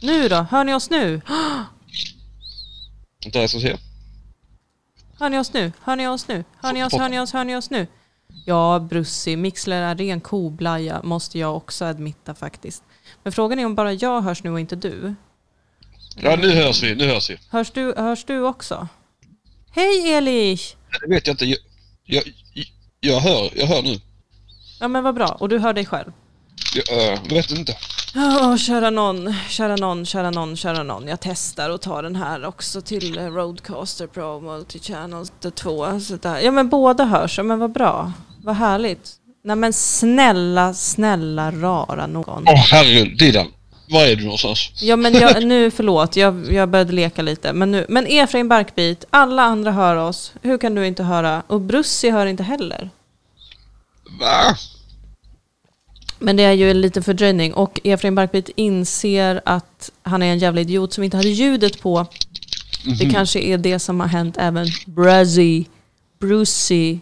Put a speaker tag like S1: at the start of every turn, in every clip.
S1: Nu då? Hör ni oss nu?
S2: Inte ens att se.
S1: Hör ni oss nu? Hör ni oss nu? Hör ni oss? Hör ni oss? Hör ni oss nu? Ja, Brussi, Mixler är ren koblaja, måste jag också admitta faktiskt. Men frågan är om bara jag hörs nu och inte du.
S2: Ja, nu hörs vi. Nu hörs vi.
S1: Hörs du, hörs du också? Hej Elich!
S2: Det vet jag inte. Jag, jag, jag, hör, jag hör nu.
S1: Ja men vad bra, och du hör dig själv?
S2: Jag äh, vet inte.
S1: Åh, kära någon, kära någon, kära någon, kära någon. Jag testar och tar den här också till eh, Roadcaster Pro Multichannel 2. Sådär. Ja men båda hörs, ja men vad bra. Vad härligt. Nej men snälla, snälla rara någon.
S2: Åh herregud, Didan. Var är du någonstans?
S1: Ja men jag, nu förlåt, jag, jag började leka lite. Men, nu, men Efraim Barkbit, alla andra hör oss. Hur kan du inte höra? Och Brussi hör inte heller.
S2: Va?
S1: Men det är ju en liten fördröjning och Efraim Barkbit inser att han är en jävla idiot som inte hade ljudet på. Det kanske är det som har hänt även Bruzzy. Brucey.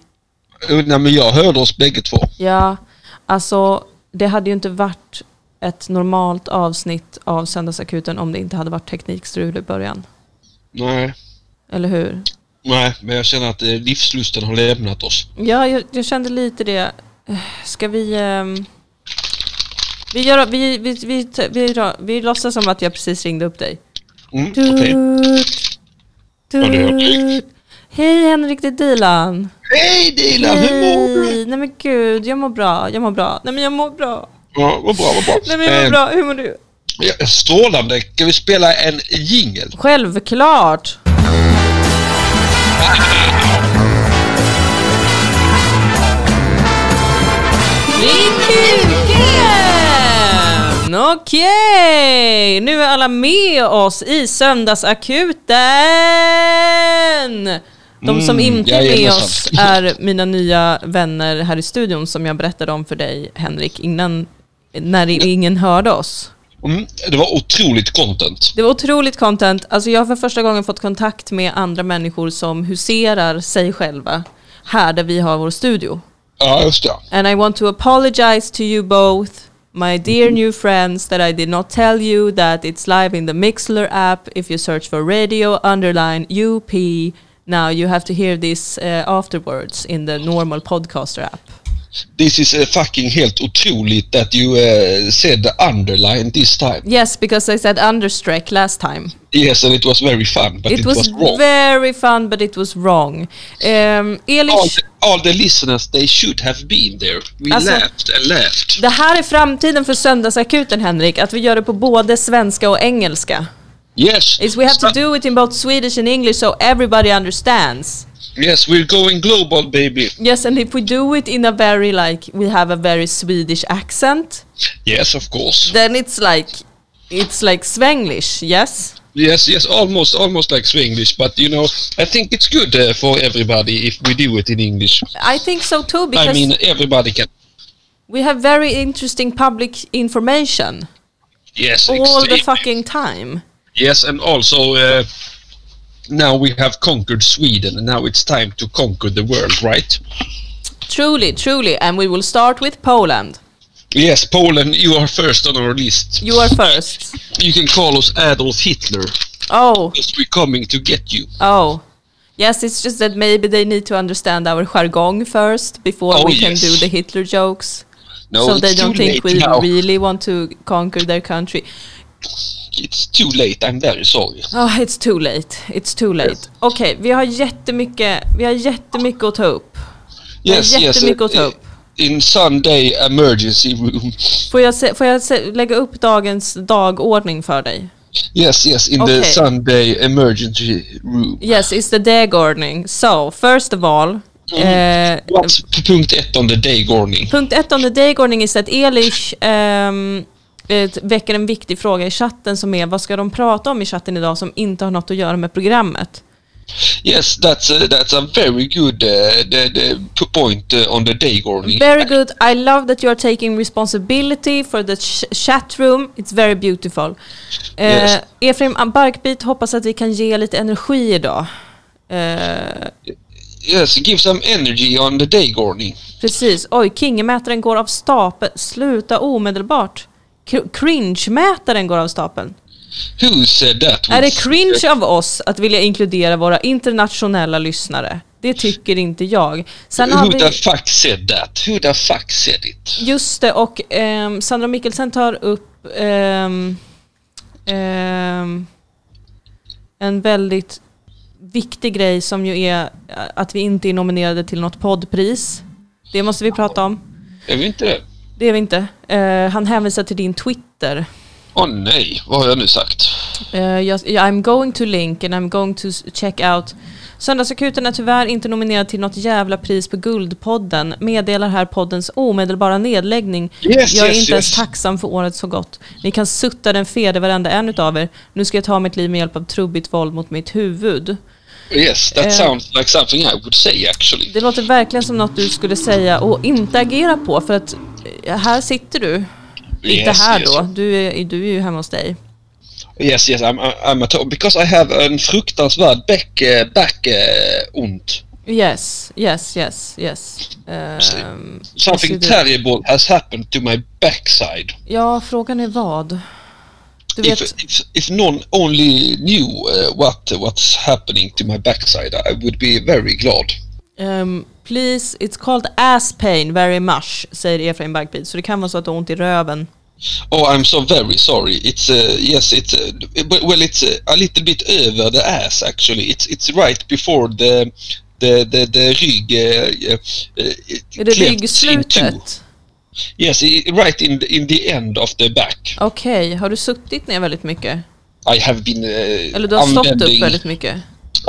S2: Oh, Nej, men jag hörde oss bägge två.
S1: Ja, alltså det hade ju inte varit ett normalt avsnitt av Söndagsakuten om det inte hade varit teknikstrul i början.
S2: Nej.
S1: Eller hur?
S2: Nej, men jag känner att eh, livslusten har lämnat oss.
S1: Ja, jag, jag kände lite det. Eh, Ska vi... ehm, vi, gör, vi, vi, vi, vi, vi, ra- vi låtsas som att jag precis ringde upp dig.
S2: Mm, okej.
S1: Tut,
S2: det gör vi.
S1: tut. Hej Henrik, det är Dilan.
S2: Hej Dilan, hur mår du?
S1: Nej men gud, jag mår bra, jag mår bra. Nej men jag mår bra.
S2: Ja, vad bra, vad bra.
S1: Nej men jag mår
S2: Eh,
S1: bra, hur mår du?
S2: ja, Strålande. Kan vi spela en jingel?
S1: Självklart! Min kuken! Okej, nu är alla med oss i Söndagsakuten! De som
S2: Mm,
S1: inte är med
S2: jajamensan.
S1: oss är mina nya vänner här i studion som jag berättade om för dig, Henrik, innan när ingen hörde oss.
S2: Mm, det var otroligt content.
S1: Det var otroligt content. Alltså jag har för första gången fått kontakt med andra människor som huserar sig själva här där vi har vår studio.
S2: Ja, just det.
S1: And I want to apologize to you both, my dear
S2: Mm.
S1: new friends, that I did not tell you that it's live in the Mixler app. If you search for radio underline UP, now you have to hear this eh, afterwards in the normal podcaster app.
S2: This is eh, fucking helt otroligt that you eh, said the underline this time.
S1: Yes, because I said understrike last time.
S2: Yes, and it was very fun, but it,
S1: It
S2: was,
S1: was
S2: wrong.
S1: very fun, but it was wrong. Um,
S2: all,
S1: Elish,
S2: the, all the listeners, they should have been there. We
S1: Alltså-
S2: laughed and laughed.
S1: Det här är framtiden för söndagsakuten Henrik, att vi gör det på både svenska och engelska.
S2: Yes.
S1: Is we have to
S2: Stop-
S1: do it in both Swedish and English so everybody understands.
S2: Yes, we're going global, baby.
S1: Yes, and if we do it in a very like, we have a very Swedish accent,
S2: Yes, of course.
S1: then it's like, it's like Swenglish, yes?
S2: Yes, yes, almost, almost like Swenglish, but you know, I think it's good uh, for everybody if we do it in English.
S1: I think so too, because
S2: I mean, everybody can.
S1: we have very interesting public information
S2: Yes,
S1: all the
S2: extremely.
S1: fucking time.
S2: Yes, and also uh, now we have conquered Sweden, and now it's time to conquer the world, right?
S1: Truly, truly, and we will start with Poland.
S2: Yes, Poland, you are first on our list.
S1: You are first.
S2: You can call us Adolf Hitler,
S1: Oh.
S2: because we're coming to get you.
S1: Oh. Yes, it's just that maybe they need to understand our jargon first before
S2: Oh,
S1: we can
S2: yes.
S1: do the Hitler jokes.
S2: No,
S1: so
S2: it's
S1: they don't
S2: too
S1: think
S2: late
S1: we
S2: now.
S1: really want to conquer their country.
S2: It's too late. I'm very sorry.
S1: Oh, it's too late. It's too late. Okej, vi har jättemycket, vi har jättemycket att ta upp.
S2: Yes, yes.
S1: jättemycket att ta upp.
S2: in Sunday emergency room.
S1: Får jag, se, får jag se, lägga upp dagens dagordning för dig?
S2: Yes, yes. In the
S1: Okay.
S2: Sunday emergency room.
S1: Yes, it's the dagordning. So, first of all,
S2: Mm.
S1: eh,
S2: What's p- punkt ett on the day morning?
S1: Punkt ett om the dagordning är att Elish ehm, eh, väcker en viktig fråga i chatten som är vad ska de prata om i chatten idag som inte har något att göra med programmet?
S2: Yes, that's a, that's a very good uh, the, the p- point uh, on the day morning.
S1: Very good. I love that you are taking responsibility for the ch chat room. It's very beautiful. Eh,
S2: Yes.
S1: Efraim Barkbit hoppas att vi kan ge lite energi idag. Eh,
S2: Yes, give some energy on the day morning.
S1: precis. Oj, kingemätaren går av stapeln. Sluta omedelbart. Cr- Cringe-mätaren går av stapeln.
S2: Who said that? uh,
S1: Är det
S2: was-
S1: cringe av oss att vilja inkludera våra internationella lyssnare? Det tycker inte jag. Sen har
S2: Who
S1: vi...
S2: the fuck said that? Who the fuck said it?
S1: Just det, och ehm, Sandra Mikkelsen tar upp ehm, ehm, en väldigt viktig grej som ju är eh, att vi inte är nominerade till något poddpris. Det måste vi prata om.
S2: Är vi inte det?
S1: Det är vi inte. Eh, han hänvisar till din Twitter.
S2: Åh nej, vad har jag nu sagt?
S1: Eh, jag, I'm going to link and I'm going to s- check out. Söndagsakuten är tyvärr inte nominerad till något jävla pris på Guldpodden. Meddelar här poddens omedelbara nedläggning.
S2: Yes,
S1: jag är
S2: yes,
S1: inte ens
S2: yes.
S1: tacksam för året så gott. Ni kan sutta den fede varenda en utav er. Nu ska jag ta mitt liv med hjälp av trubbigt våld mot mitt huvud.
S2: Yes, that
S1: Eh.
S2: sounds like something I would say actually.
S1: Det låter verkligen som något du skulle säga och inte agera på för att eh, här sitter du. inte
S2: Yes,
S1: här
S2: yes.
S1: då, du är, du är ju hemma hos dig.
S2: Yes, yes, I'm, uh, I'm at home because I have en fruktansvärd back, eh, back eh, ont.
S1: Yes, yes, yes, yes. Ehm, Yes,
S2: Something
S1: you do.
S2: terrible has happened to my backside.
S1: Ja, frågan är vad. Du vet,
S2: If, if, if none only knew eh, what, what's happening to my backside I would be very glad.
S1: ehm, please, it's called ass pain very much, säger Efraim Bagbid. Så det kan vara så att du har ont i röven.
S2: Oh, I'm so very sorry. It's uh, yes, it's uh, w- well, it's uh, a little bit over the ass actually. It's it's right before the the the, the rygg. Uh, uh, it
S1: Är det
S2: clefts in two.
S1: ryggslutet?
S2: Yes, i- right in the, in the end of the back.
S1: Okej, har du suttit ner väldigt mycket?
S2: I have been uh,
S1: Eller du har stått upp
S2: använding-
S1: väldigt mycket?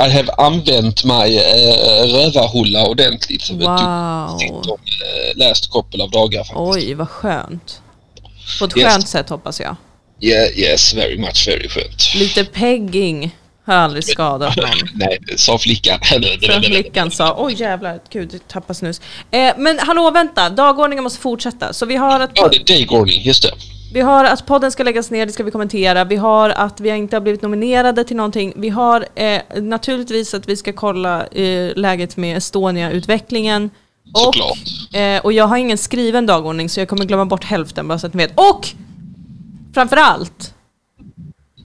S2: I have använt my uh, rövarhulla ordentligt. vet du.
S1: Wow.
S2: Sitter, eh, Last couple av dagar faktiskt.
S1: Oj, vad skönt. På ett
S2: Yes.
S1: skönt sätt hoppas jag.
S2: Yeah, yes, very much, very skönt.
S1: Lite pegging har aldrig skadat någon.
S2: Nej, sa flickan.
S1: Sen flickan sa, oj jävlar, gud, jag tappar snus. Eh, men hallå, vänta, dagordningen måste fortsätta. Så vi har att
S2: Ja, det är dagordning, just det.
S1: Vi har att podden ska läggas ner, det ska vi kommentera. Vi har att vi inte har blivit nominerade till någonting. Vi har eh, naturligtvis att vi ska kolla eh, läget med Estonia-utvecklingen.
S2: Såklart.
S1: Och, eh, och jag har ingen skriven dagordning så jag kommer glömma bort hälften bara så att ni vet. Och framförallt,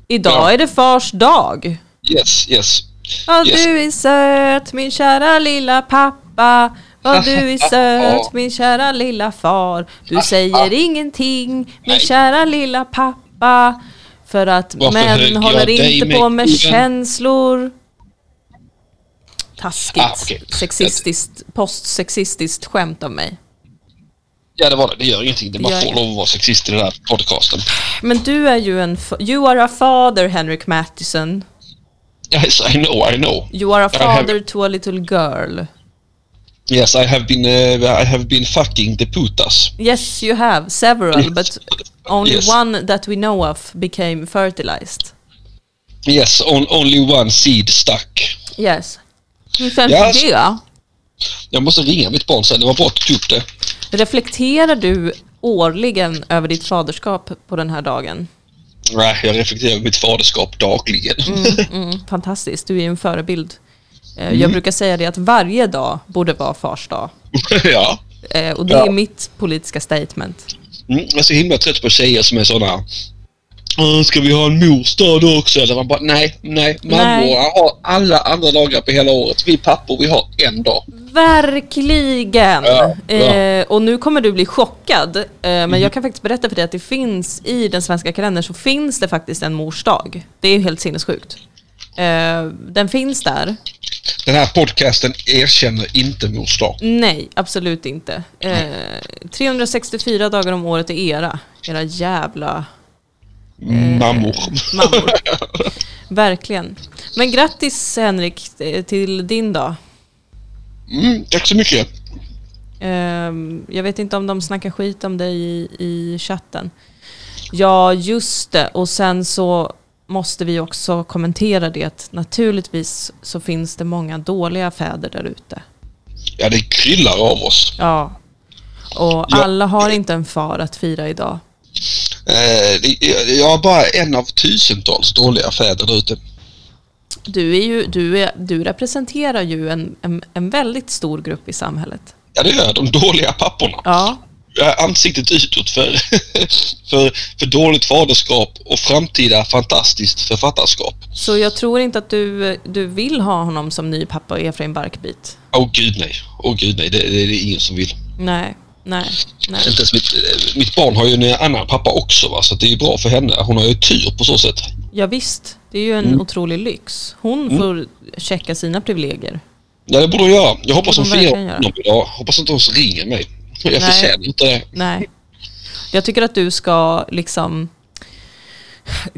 S1: idag
S2: Ja.
S1: är det fars dag.
S2: Yes, yes.
S1: Ja,
S2: Yes.
S1: du är söt min kära lilla pappa. Ja, du är söt min kära lilla far. Du säger ingenting min
S2: Ah, Nej.
S1: kära lilla pappa. För att
S2: Varför högg
S1: män
S2: jag
S1: håller
S2: dig
S1: inte
S2: med
S1: på med
S2: kniven?
S1: känslor. Taskigt,
S2: Ah, okej.
S1: sexistiskt, postsexistiskt skämt av mig.
S2: Ja, det var det. Det gör ingenting. Det
S1: Ja,
S2: man
S1: ja.
S2: får lov att vara sexist i den här podcasten.
S1: Men du är ju en... fa- You are a father, Henrik Mattisson.
S2: Yes, I know, I know.
S1: You are a
S2: I have-
S1: father to a little girl.
S2: Yes, I have been, uh, I have been fucking the putas.
S1: Yes, you have several, but only
S2: Yes.
S1: one that we know of became fertilized.
S2: Yes, on, only one seed stuck.
S1: Yes. Hur känns
S2: Yes.
S1: det?
S2: Jag måste ringa mitt barn sen. Det var bra att du tog upp det.
S1: Reflekterar du årligen över ditt faderskap på den här dagen?
S2: Nej, jag reflekterar över mitt faderskap dagligen.
S1: Mm, fantastiskt, du är ju en förebild. Eh,
S2: Mm.
S1: Jag brukar säga det att varje dag borde vara fars dag.
S2: ja.
S1: Eh, Och det
S2: Ja.
S1: är mitt politiska statement.
S2: Mm, jag är så himla trött på tjejer som är sådana. "Åh, Ska vi ha en mors dag då också? Eller man bara, nej, nej.
S1: Nej.
S2: Mammor har alla andra dagar på hela året. Vi pappor, vi har en dag.
S1: Mm. Verkligen!
S2: Ja, ja.
S1: Eh, och nu kommer du bli chockad, eh, men jag kan faktiskt berätta för dig att det finns i den svenska kalendern så finns det faktiskt en morsdag. Det är ju helt sinnessjukt. Eh, den finns där.
S2: Den här podcasten erkänner inte mors dag.
S1: Nej, absolut inte. Eh, 364 dagar om året är era. Era jävla Mm.
S2: Mammor.
S1: mammor. Verkligen. Men grattis Henrik eh, till din dag.
S2: Mm, tack så mycket.
S1: Ehm, jag vet inte om de snackar skit om dig i, i chatten. Ja, just det. Och sen så måste vi också kommentera det att naturligtvis så finns det många dåliga fäder där ute.
S2: Ja, det kryllar av oss.
S1: Ja. Och
S2: Ja.
S1: alla har inte en far att fira idag.
S2: Eh, det- jag är bara en av tusentals dåliga fäder där ute.
S1: Du, är ju, du, är, du representerar ju en, en, en väldigt stor grupp i samhället.
S2: Ja, det gör jag. De dåliga papporna.
S1: Ja,
S2: ansiktet utåt för, för, för dåligt faderskap och framtida fantastiskt författarskap.
S1: Så jag tror inte att du, du vill ha honom som ny pappa Efraim Barkbit?
S2: Åh oh, gud nej, åh oh, gud nej, det, det är det ingen som vill.
S1: Nej, nej, nej.
S2: Inte ens mitt, mitt barn har ju en annan pappa också va? så det är ju bra för henne. Hon har ju tur på så sätt.
S1: Ja, visst, det är ju en otrolig lyx. Hon får checka sina privilegier.
S2: Ja, det borde hon göra. Jag hoppas
S1: Det
S2: hon
S1: borde hon
S2: firar
S1: verkligen
S2: honom idag. Hoppas inte hon ringer mig. Jag
S1: Nej.
S2: förtjänar inte det.
S1: Nej. Jag tycker att du ska liksom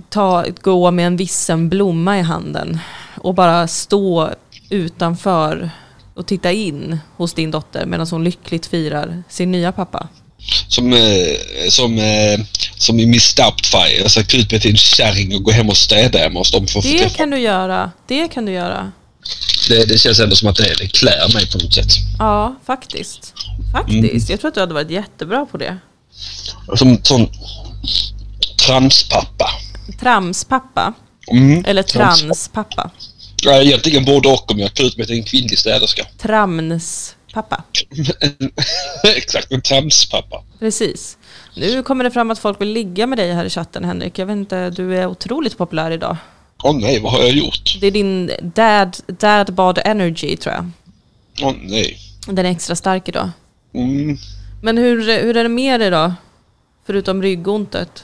S1: ta, gå med en vissen blomma i handen och bara stå utanför och titta in hos din dotter medan hon lyckligt firar sin nya pappa.
S2: Som, eh, som, eh, som i Miss Doubtfire. Jag ska klä ut mig till en kärring och gå hem och städa hemma hos dem för att få
S1: Det
S2: träffa.
S1: kan du göra. Det kan du göra.
S2: Det, det känns ändå som att det, det klär mig på något sätt.
S1: Ja, faktiskt. Faktiskt. Jag tror att du hade varit jättebra på det.
S2: Som sån transpappa.
S1: Tramspappa.
S2: Mm.
S1: Eller
S2: Trams-
S1: transpappa.
S2: Ja, egentligen både och om jag klär ut mig till en kvinnlig städerska.
S1: Tramnspappa.
S2: Exakt, en tramspappa.
S1: Precis. Nu kommer det fram att folk vill ligga med dig här i chatten Henrik. Jag vet inte, du är otroligt populär idag.
S2: Åh nej, vad har jag gjort?
S1: Det är din dad, dad bod energy tror jag.
S2: Åh nej.
S1: Den är extra stark idag.
S2: Mm.
S1: Men hur, hur är det med dig då? Förutom ryggontet.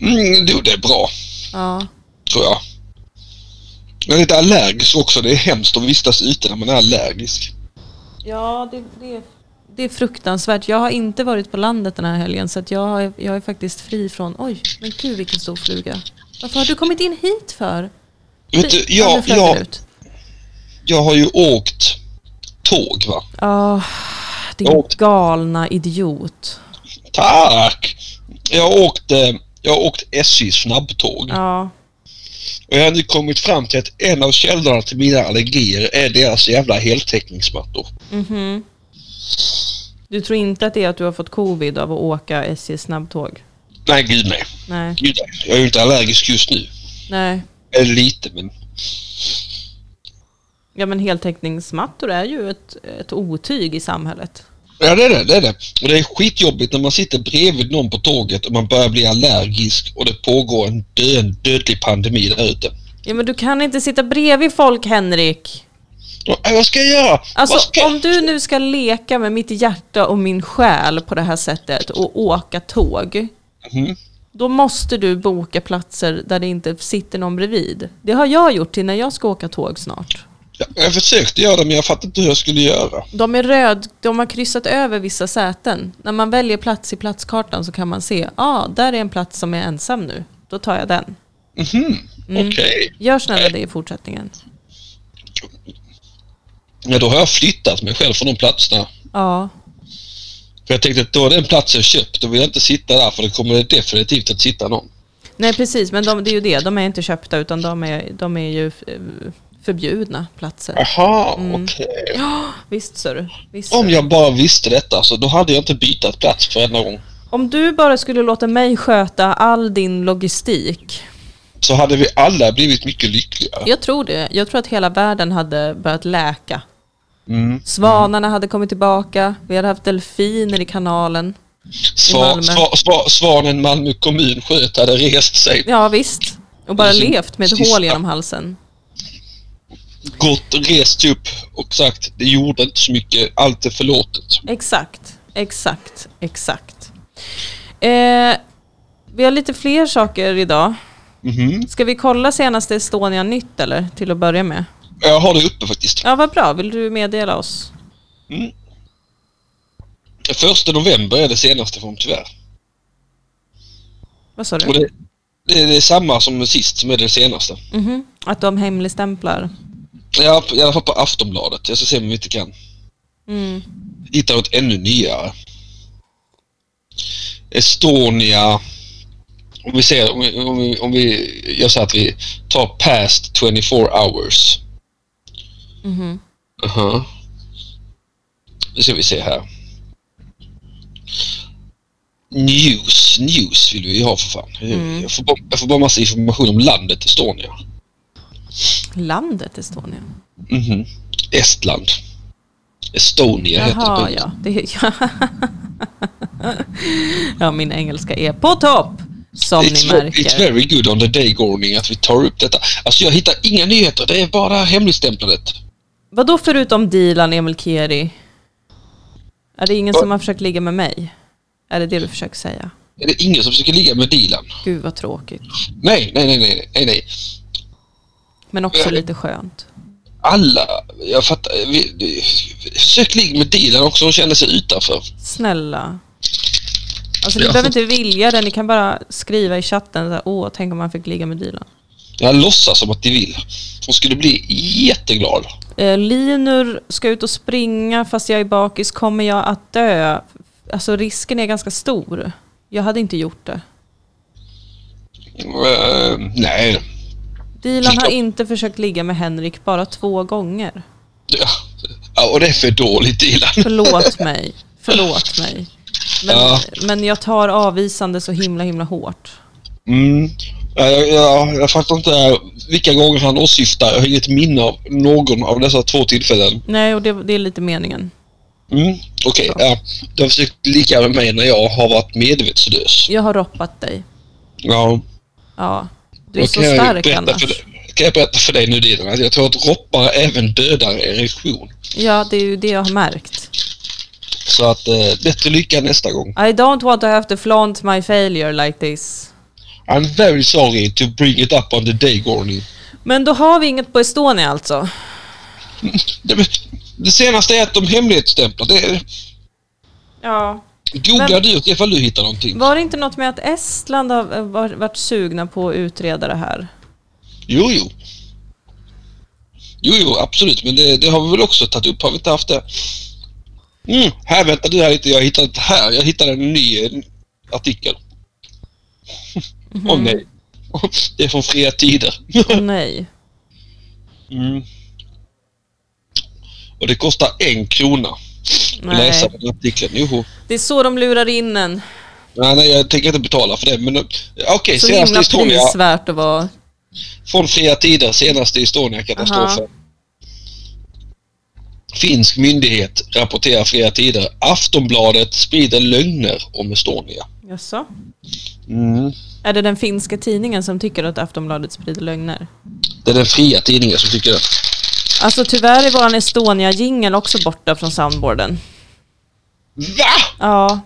S2: Mm, jo, det är bra,
S1: Ja.
S2: tror jag. Jag är lite allergisk också. Det är hemskt att vistas ute när man är allergisk.
S1: Ja, det, det, är, det är fruktansvärt. Jag har inte varit på landet den här helgen så att jag, är- jag är faktiskt fri från... Oj, men gud vilken stor fluga. Varför har du kommit in hit för?
S2: Vet du,
S1: Ja, nu
S2: jag,
S1: flög den
S2: jag,
S1: ut.
S2: jag har ju åkt tåg, va?
S1: Ja, din
S2: Åkt.
S1: galna idiot.
S2: Tack! Jag har åkt, eh, jag har åkt SJ snabbtåg.
S1: Ja,
S2: Och jag har nu kommit fram till att en av källorna till mina allergier är deras jävla heltäckningsmattor.
S1: mhm. du tror inte att det är att du har fått covid av att åka SJ snabbtåg?
S2: Nej, gud nej.
S1: Nej,
S2: Gud, nej. Jag är ju inte allergisk just nu.
S1: nej.
S2: Eller lite, men...
S1: Ja men heltäckningsmattor är ju ett, ett otyg i samhället.
S2: Ja, det är det. Det är, det. Och det är skitjobbigt när man sitter bredvid någon på tåget och man börjar bli allergisk och det pågår en, dö- en dödlig pandemi där ute.
S1: Ja men du kan inte sitta bredvid folk Henrik.
S2: Och, "Äh, Vad ska jag göra?
S1: Alltså
S2: Vad ska...
S1: om du nu ska leka med mitt hjärta och min själ på det här sättet och åka tåg.
S2: Mhm.
S1: Då måste du boka platser där det inte sitter någon bredvid. Det har jag gjort till när jag ska åka tåg snart.
S2: Jag, jag försökte göra det men jag fattade inte hur jag skulle göra.
S1: De är röd, de har kryssat över vissa säten. När man väljer plats i platskartan så kan man se, ah, där är en plats som är ensam nu. Då tar jag den.
S2: Mhm.
S1: Mm.
S2: Okej.
S1: Gör snälla det i fortsättningen.
S2: Ja, då har jag flyttat mig själv från de platserna.
S1: Ja,
S2: För jag tänkte att då är den plats jag köpt, då vill jag inte sitta där för då kommer det definitivt att sitta någon.
S1: nej precis, men de, det är ju det. De är inte köpta utan de är, de är ju eh, förbjudna platser.
S2: Aha, okej.
S1: Visst sir. Visst,
S2: Om
S1: sir.
S2: jag bara visste detta så då hade jag inte bytt plats för en gång.
S1: Om du bara skulle låta mig sköta all din logistik.
S2: Så hade vi alla blivit mycket lyckligare.
S1: Jag tror det. Jag tror att hela världen hade börjat läka.
S2: Mm.
S1: Svanarna hade kommit tillbaka. Vi hade haft delfiner i kanalen.
S2: Svar,
S1: Malmö.
S2: svar, svar, svanen Malmö kommun sköt hade rest sig,
S1: Ja visst. Och bara
S2: Sin-
S1: levt med ett
S2: sista.
S1: hål genom halsen.
S2: gått och rest sig upp och sagt det gjorde inte så mycket, allt är förlåtet.
S1: Exakt, exakt, exakt. Eh, vi har lite fler saker idag.
S2: Mhm.
S1: Ska vi kolla senaste Estonia-nytt eller? Till att börja med.
S2: Jag har det uppe faktiskt.
S1: Ja, vad bra. Vill du meddela oss?
S2: Första november är det senaste från tyvärr.
S1: Vad sa
S2: Och
S1: du?
S2: det, det, det är samma som sist som är det senaste.
S1: Mhm. Att de hemligstämplar.
S2: Ja, i alla fall på Aftonbladet. Jag ska se om vi inte kan
S1: Mm.
S2: hitta något ännu nyare. Estonia. Om vi ser, om vi, om vi, om vi gör så att vi tar past 24 hours.
S1: Mhm.
S2: Aha. Nu ska vi se här. News, news vill vi ju ha för fan. Jag, får bara, jag får bara massa information om landet Estonia.
S1: Landet Estonia.
S2: Mhm. Estland. Mm-hmm. Estonia heter
S1: Jaha,
S2: det.
S1: ja. Det, ja. ja, min engelska är på topp. Som
S2: it's,
S1: ni
S2: ve-
S1: märker.
S2: it's very good on the day Gorning att vi tar upp detta. Alltså jag hittar inga nyheter, det är bara hemligstämplandet.
S1: Vadå förutom Dilan, Emil Keri? Är det ingen
S2: Va?
S1: som har försökt ligga med mig? Är det det du försöker säga?
S2: Är det ingen som försöker ligga med Dilan?
S1: Gud vad tråkigt.
S2: Nej, nej, nej, nej, nej, nej.
S1: Men också
S2: Ja.
S1: lite skönt.
S2: Alla, jag fattar. Vi, vi, försök ligga med Dilan också, hon känner sig utanför.
S1: Snälla. Alltså ni
S2: Ja.
S1: behöver inte vilja det, ni kan bara skriva i chatten så här, åh, tänk om man fick ligga med Dilan.
S2: Jag låtsas som att de vill. Hon skulle bli jätteglad.
S1: Eh, Linur ska ut och springa fast jag är bakis, kommer jag att dö? Alltså risken är ganska stor. Jag hade inte gjort det.
S2: Eh, nej.
S1: Dilan har inte försökt ligga med Henrik bara två gånger.
S2: Ja. Ja, och det är för dåligt Dilan.
S1: Förlåt mig. Förlåt mig. Men,
S2: Ja.
S1: men jag tar avvisande så himla himla hårt.
S2: Mm. Ja, Jag, jag, jag fattar inte eh, vilka gånger han åsyftar. Jag har inget minne av någon av dessa två tillfällen.
S1: Nej, och det, det är lite meningen.
S2: Mm. Okej,
S1: Så.
S2: ja. du har försökt lika med mig när jag har varit medvetslös.
S1: Jag har roppat dig.
S2: Ja.
S1: Ja. Du är
S2: Då
S1: så
S2: kan jag ju
S1: stark
S2: berätta för
S1: annars.
S2: dig- Kan jag berätta för dig nu Dilan att jag tror att roppare även dödar erektion.
S1: Ja, det är ju det jag har märkt.
S2: Så att eh, bättre lycka nästa gång.
S1: I don't want to have to flaunt my failure like this.
S2: I'm very sorry to bring it up on the day Gorny.
S1: Men då har vi inget på Estonia alltså.
S2: Det, det senaste är att de hemlighetsstämplar. Det är,
S1: Ja.
S2: googla
S1: Men-
S2: du ifall du hittar någonting.
S1: Var det inte något med att Estland har eh, var- varit sugna på att utreda det här?
S2: Jo, jo. Jo, jo, absolut. Men det, det har vi väl också tagit upp. Har vi inte haft det? Mm, här, vänta du här lite. Jag hittade det här. Jag hittade en ny eh, artikel. Åh
S1: Mhm.
S2: nej. Det är från Fria Tider.
S1: Åh, nej.
S2: Mm. Och det kostar en krona att
S1: Nej.
S2: läsa den artikeln. Joho.
S1: Det är så de lurar in en.
S2: Nej, nej, jag tänker inte betala för det. Men eh, okej,
S1: Så
S2: senast i
S1: himla
S2: Estonia.
S1: prisvärt att vara.
S2: Från Fria Tider, senaste Estonia-katastrofen. Finsk myndighet rapporterar Fria Tider. Aftonbladet sprider lögner om Estonia.
S1: Jaså?
S2: Mm.
S1: Är det den finska tidningen som tycker att Aftonbladet sprider lögner?
S2: Det är den fria tidningen som tycker det.
S1: Alltså tyvärr är våran Estonia-jingel också borta från soundboarden.
S2: VA?
S1: Ja,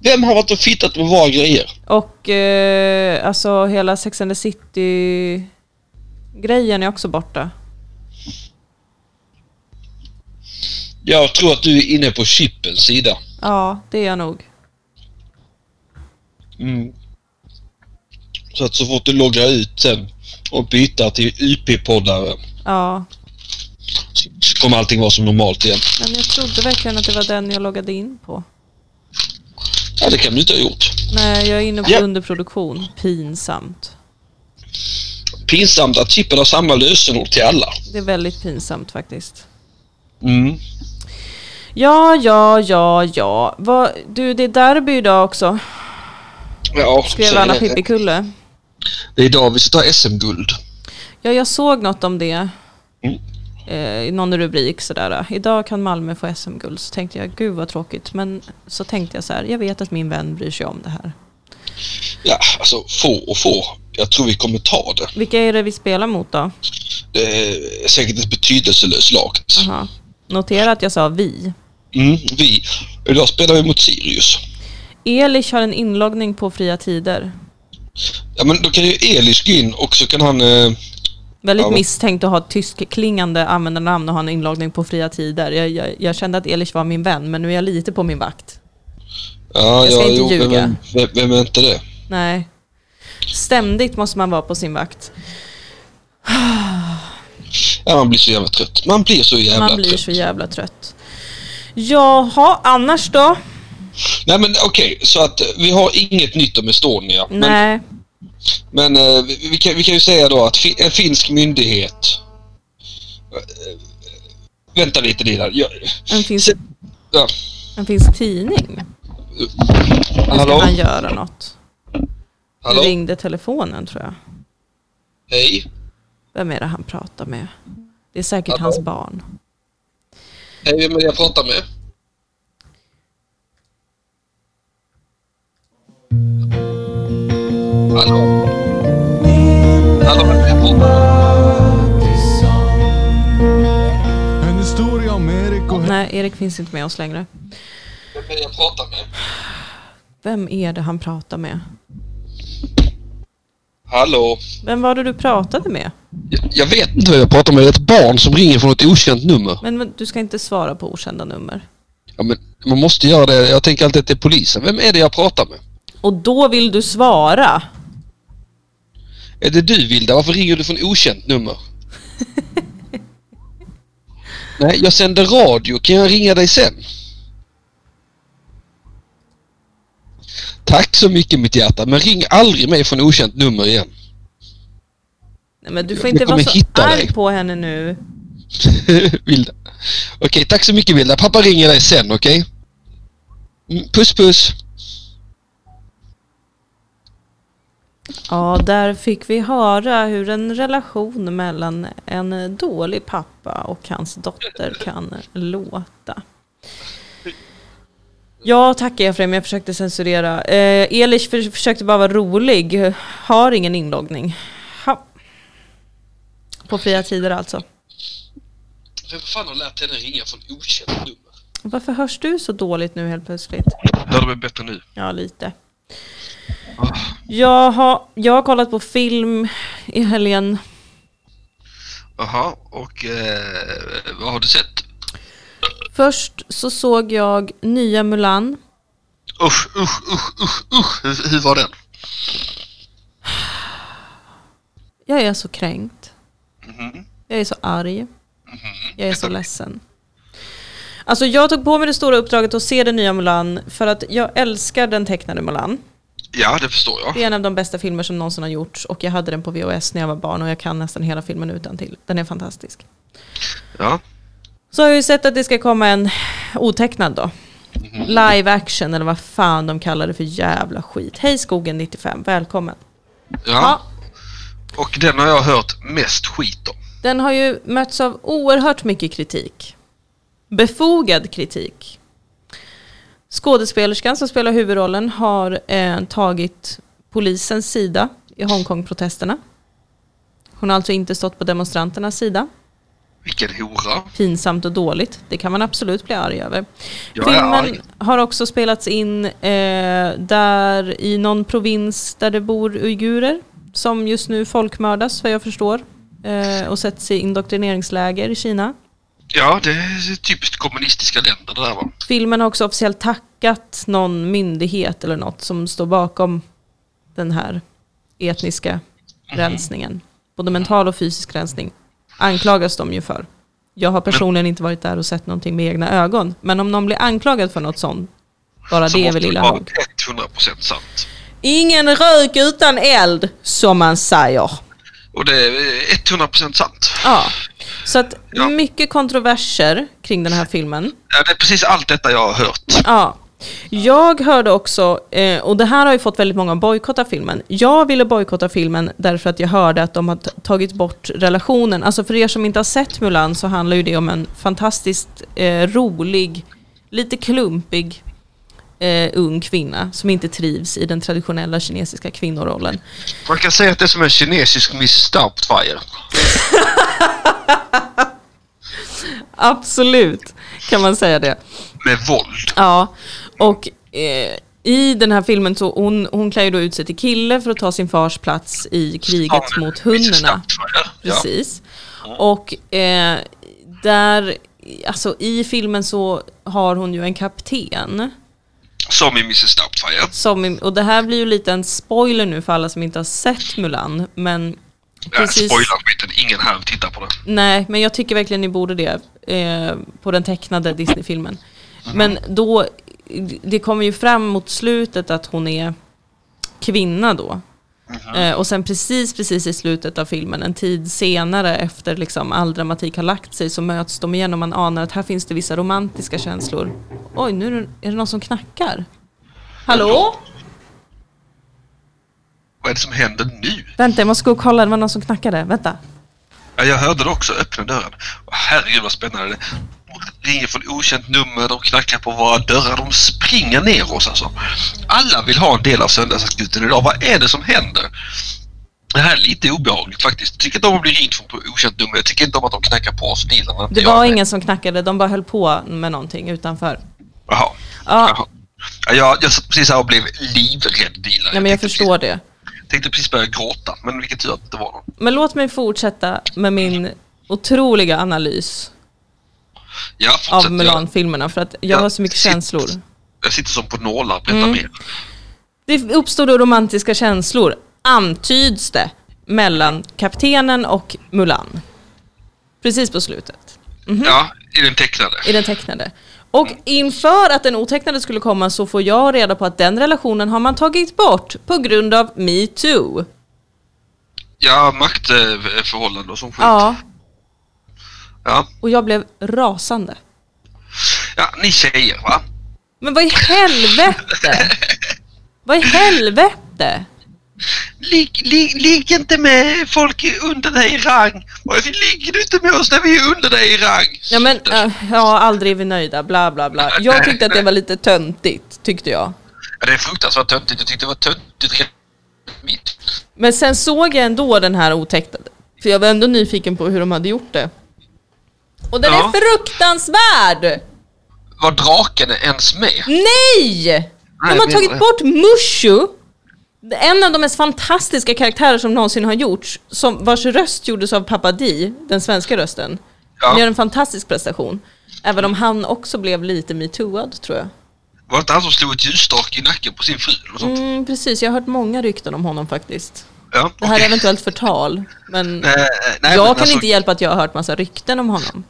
S2: Vem har varit och fittat med våra grejer?
S1: och eh, alltså hela Sex and the City-grejen är också borta.
S2: Jag tror att du är inne på chippens sida.
S1: Ja, det är jag nog.
S2: Mm. Så att så fort du loggar ut sen och byter till UP-poddare
S1: Ja,
S2: så kommer allting vara som normalt igen.
S1: men jag trodde verkligen att det var den jag loggade in på.
S2: Ja, det kan du inte ha gjort.
S1: Nej, jag är inne på
S2: Ja.
S1: underproduktion. Pinsamt.
S2: Pinsamt att chippen har samma lösenord till alla.
S1: Det är väldigt pinsamt faktiskt.
S2: Mm.
S1: Ja, ja, ja, ja. Vad- du, det är derby idag också,
S2: Ja, så
S1: skrev
S2: är
S1: Anna
S2: det.
S1: Pippikulle.
S2: Det är idag vi ska ta SM-guld.
S1: Ja, jag såg något om det.
S2: Mm.
S1: Eh, i någon rubrik sådär. Idag kan Malmö få SM-guld. Så tänkte jag, gud vad tråkigt. Men så tänkte jag så här, jag vet att min vän bryr sig om det här.
S2: Ja, alltså få och få. Jag tror vi kommer ta det.
S1: Vilka är det vi spelar mot då?
S2: Det är säkert ett betydelselöst lag.
S1: Aha. Notera att jag sa vi.
S2: Mm, vi. Idag spelar vi mot Sirius.
S1: Elish har en inloggning på Fria Tider.
S2: Ja, men då kan ju Elish gå in och så kan han... Eh,
S1: Väldigt
S2: Ja, vad-
S1: misstänkt att ha ett tyskklingande användarnamn och ha en inloggning på Fria Tider. Jag, jag, jag kände att Elish var min vän, men nu är jag lite på min vakt.
S2: ja,
S1: Jag ska
S2: ja,
S1: inte ljuga.
S2: Vem, vem, vem är inte det?
S1: Nej. Ständigt måste man vara på sin vakt.
S2: Ja, man blir så jävla trött. Man blir så jävla
S1: Man blir
S2: trött.
S1: så jävla trött. Jaha, annars då?
S2: Nej, men okej. så att eh, vi har inget nytt om Estonia. Men,
S1: Nej.
S2: men eh, vi, vi, kan, vi kan ju säga då att fi, en finsk myndighet... Eh, eh, Vänta lite Lina. Jag,
S1: En finsk,
S2: se- ja.
S1: en finsk tidning. Nu ska
S2: Hallå?
S1: han göra något. Nu
S2: Hallå?
S1: ringde telefonen tror jag.
S2: Hej?
S1: Vem är det han pratar med? Det är säkert
S2: Hallå?
S1: hans barn.
S2: Hej, vem är det jag pratar med?
S3: Historia om Erik och...
S1: Nej, Erik finns inte med oss längre.
S4: Vem är det jag pratar med?
S1: Vem är det han pratar med?
S4: Hallå?
S1: Vem var det du pratade med?
S2: Jag, jag vet inte vem jag pratar med. Det är ett barn som ringer från ett okänt nummer.
S1: Men, men du ska inte svara på okända nummer.
S2: Ja, men man måste göra det. Jag tänker alltid att det är polisen. Vem är det jag pratar med?
S1: Och då vill du svara.
S2: Är det du Vilda? Varför ringer du från okänt nummer? Nej, jag sänder radio. Kan jag ringa dig sen? Tack så mycket mitt hjärta, men ring aldrig mig från okänt nummer igen.
S1: Nej, men du får
S2: Jag
S1: inte vara
S2: kommer
S1: så
S2: hitta
S1: arg
S2: dig.
S1: på henne nu.
S2: Vilda. Okej, tack så mycket Vilda. Pappa ringer dig sen, okej? Mm, Puss puss.
S1: Ja, där fick vi höra hur en relation mellan en dålig pappa och hans dotter kan låta. Ja, tack Efraim, jag försökte censurera. Eh, Elish för, försökte bara vara rolig, har ingen inloggning. Ha. På fria tider alltså.
S2: Vem fan har lärt henne ringa från okänt nummer?
S1: Varför hörs du så dåligt nu helt plötsligt?
S2: Lär det mig bättre nu.
S1: Ja, lite. Jag har, jag har kollat på film i helgen.
S2: Jaha, och eh, vad har du sett?
S1: Först så såg jag nya Mulan.
S2: Usch, usch, usch, usch, usch. Hur, hur var den?
S1: Jag är så kränkt. Jag är så arg. Jag är så ledsen. Alltså jag tog på mig det stora uppdraget att se den nya Mulan för att jag älskar den tecknade Mulan.
S2: Ja, det förstår jag.
S1: Det är en av de bästa filmer som någonsin har gjorts och jag hade den på VHS när jag var barn och jag kan nästan hela filmen utan till. Den är fantastisk.
S2: Ja.
S1: Så har jag ju sett att det ska komma en otecknad då. Live action eller vad fan de kallar det för jävla skit. Hej skogen 95, välkommen. Ja,
S2: ja. Och den har jag hört mest skit om.
S1: Den har ju mötts av oerhört mycket kritik. Befogad kritik. Skådespelerskan som spelar huvudrollen har eh, tagit polisens sida i Hongkong-protesterna. Hon har alltså inte stått på demonstranternas sida.
S2: Vilken hora.
S1: Pinsamt och dåligt. Det kan man absolut bli arg över.
S2: Jag är
S1: Filmen
S2: arg.
S1: har också spelats in eh, där i någon provins där det bor uigurer som just nu folkmördas vad jag förstår eh, och sätts i indoktrineringsläger i Kina.
S2: Ja, det är typiskt kommunistiska länder det där va.
S1: Filmen har också officiellt tackat någon myndighet eller något som står bakom den här etniska
S2: Mhm.
S1: rensningen. Både mental och fysisk rensning anklagas de ju för. Jag har personligen inte varit där och sett någonting med egna ögon. Men om någon blir anklagad för något sånt, bara
S2: Så
S1: det är väl
S2: måste
S1: illa
S2: vara
S1: nog.
S2: 100% sant.
S1: Ingen rök utan eld, som man säger.
S2: Och det är 100% sant.
S1: Ja. Så att
S2: Ja.
S1: mycket kontroverser kring den här filmen.
S2: Ja, det är precis allt detta jag har hört.
S1: Ja. Jag hörde också, eh, och det här har ju fått väldigt många att bojkotta filmen. Jag ville bojkotta filmen därför att jag hörde att de har t- tagit bort relationen. Alltså för er som inte har sett Mulan så handlar ju det om en fantastiskt eh, rolig, lite klumpig eh, ung kvinna som inte trivs i den traditionella kinesiska kvinnorollen.
S2: Man kan säga att det är som en kinesisk Miss Stoutfire.
S1: Absolut kan man säga det.
S2: Med våld.
S1: Ja, och eh, i den här filmen så hon, hon klär ju då ut sig till kille för att ta sin fars plats i kriget mot hunnorna.
S2: Ja.
S1: Precis. Och eh, där, alltså i filmen så har hon ju en kapten.
S2: Som i Mrs Doubtfire.
S1: Som, och det här blir ju lite en spoiler nu för alla som inte har sett Mulan. Men
S2: Ja,
S1: precis,
S2: Spoilerskiten, ingen här tittar på det.
S1: Nej, men jag tycker verkligen ni borde det eh, på den tecknade Disney-filmen. Men då, det kommer ju fram mot slutet att hon är kvinna då. Eh, och sen precis, precis i slutet av filmen, en tid senare efter liksom all dramatik har lagt sig, så möts de igen och man anar att här finns det vissa romantiska känslor. Oj, nu är det, är det någon som knackar. Hallå?
S2: Vad är det som händer nu?
S1: Vänta, jag måste gå och kolla, det var någon som knackade. Vänta.
S2: Ja, jag hörde det också, öppna dörren. Åh, herregud vad spännande det är. De ringer från okänt nummer, de knackar på våra dörrar, de springer ner oss alltså. Alla vill ha en del av söndagsakuten idag, vad är det som händer? Det här är lite obehagligt faktiskt. Jag tycker inte om att bli ringd från okänt nummer. Jag tycker inte om att de knackar på oss bilarna.
S1: Det var ingen som knackade, de bara höll på med någonting utanför.
S2: Jaha.
S1: Ja,
S2: Jaha. Ja, jag, jag satt precis här och blev livrädd bilar.
S1: nej, men jag
S2: tänkte
S1: förstår det.
S2: Precis, tänkte precis börja gråta, men vilket tur att det inte var någon.
S1: Men låt mig fortsätta med min otroliga analys
S2: Ja,
S1: av
S2: fortsätt. Jag,
S1: Mulan-filmerna för att jag
S2: Ja,
S1: har så mycket
S2: shit.
S1: känslor. Mm.
S2: jag sitter som på nålar. Berätta mer.
S1: Det uppstod då romantiska känslor, antyds det, mellan kaptenen och Mulan. Precis på slutet,
S2: Ja, i den tecknade.
S1: i den tecknade. Och inför att den otecknade skulle komma så får jag reda på att den relationen har man tagit bort på grund av metoo.
S2: Ja, maktförhållanden och sån skit.
S1: Ja,
S2: Ja.
S1: och jag blev rasande.
S2: ja, ni tjejer va?
S1: Men vad i helvete? Vad i helvete?
S2: Ligg, ligg, ligg inte med folk under dig i rang. Varför ligger du inte med oss när vi är under dig i rang?
S1: Ja men, äh, ja aldrig är vi nöjda, bla bla bla. Jag tyckte att det var lite töntigt, tyckte jag.
S2: Ja, det är fruktansvärt töntigt. Jag tyckte det var töntigt redan mitt.
S1: Men sen såg jag ändå den här otäckade. För jag var ändå nyfiken på hur de hade gjort det. Och den
S2: Ja.
S1: är fruktansvärd!
S2: Var draken ens med?
S1: Mm. Nej! De har
S2: jag
S1: tagit
S2: menar det.
S1: bort Mushu, en av de mest fantastiska karaktärer som någonsin har gjorts, som, vars röst gjordes av Papa Di, den svenska rösten.
S2: Ja.
S1: Han gör en fantastisk prestation. Även om han också blev lite metooad tror jag.
S2: Var det inte han som slog ett ljusstake i nacken på sin fru? Eller något sånt?
S1: Mm, precis, jag har hört många rykten om honom faktiskt.
S2: Ja,
S1: Mm. Det här är
S2: okej.
S1: eventuellt förtal, men
S2: Eh, nej,
S1: jag
S2: men
S1: kan inte hjälpa att jag har hört massa rykten om honom.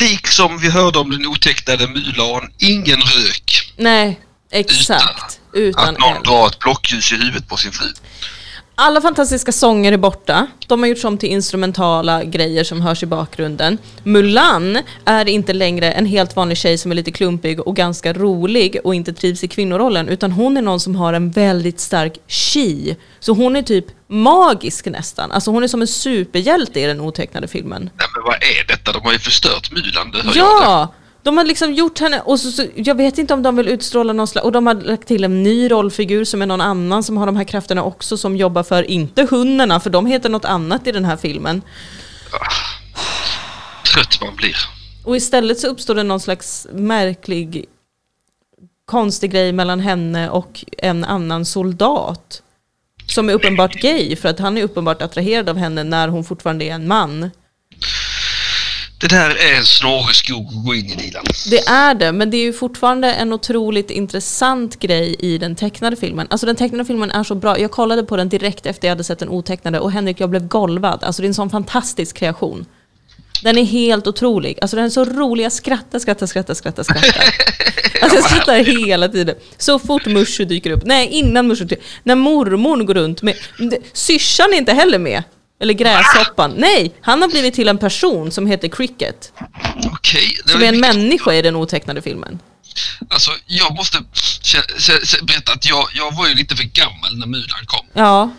S2: Liksom vi hörde om den otecknade Mulan, ingen rök
S1: Nej, exakt. Utan
S2: att någon
S1: eld.
S2: drar ett blockljus i huvudet på sin fru.
S1: Alla fantastiska sånger är borta. De har gjorts om till instrumentala grejer som hörs i bakgrunden. Mulan är inte längre en helt vanlig tjej som är lite klumpig och ganska rolig och inte trivs i kvinnorollen, utan hon är någon som har en väldigt stark chi. Så hon är typ magisk nästan. Alltså hon är som en superhjälte i den otecknade filmen.
S2: Nej, men vad är detta? De har ju förstört Mulan, det hör jag.
S1: Ja! De har liksom gjort henne, och så, så, jag vet inte om de vill utstråla någon slags, och de har lagt till en ny rollfigur som är någon annan som har de här krafterna också som jobbar för, inte hundarna för de heter något annat i den här filmen.
S2: Trött man blir.
S1: Och istället så uppstår det någon slags märklig, konstig grej mellan henne och en annan soldat. Som är uppenbart gay för att han är uppenbart attraherad av henne när hon fortfarande är en man.
S2: Det där är en snårig skog att gå in i Dilan.
S1: Det är det, men det är ju fortfarande en otroligt intressant grej i den tecknade filmen. Alltså den tecknade filmen är så bra. Jag kollade på den direkt efter jag hade sett den otecknade och Henrik, jag blev golvad. Alltså det är en sån fantastisk kreation. Den är helt otrolig. Alltså den är så rolig. Jag skrattar, skrattar, skrattar, skrattar, skrattar. Alltså jag skrattar hela tiden. Så fort Mushu dyker upp. Nej, innan Mushu dyker När mormor går runt med... det- Syrsan är inte heller med. Eller gräshoppan. Nej, han har blivit till en person som heter Cricket.
S2: Okej. det
S1: Som
S2: var
S1: är en
S2: mycket-
S1: människa i den otecknade filmen.
S2: Alltså, jag måste kä- kä- kä- berätta att jag, jag var ju lite för gammal när Mulan kom.
S1: Ja,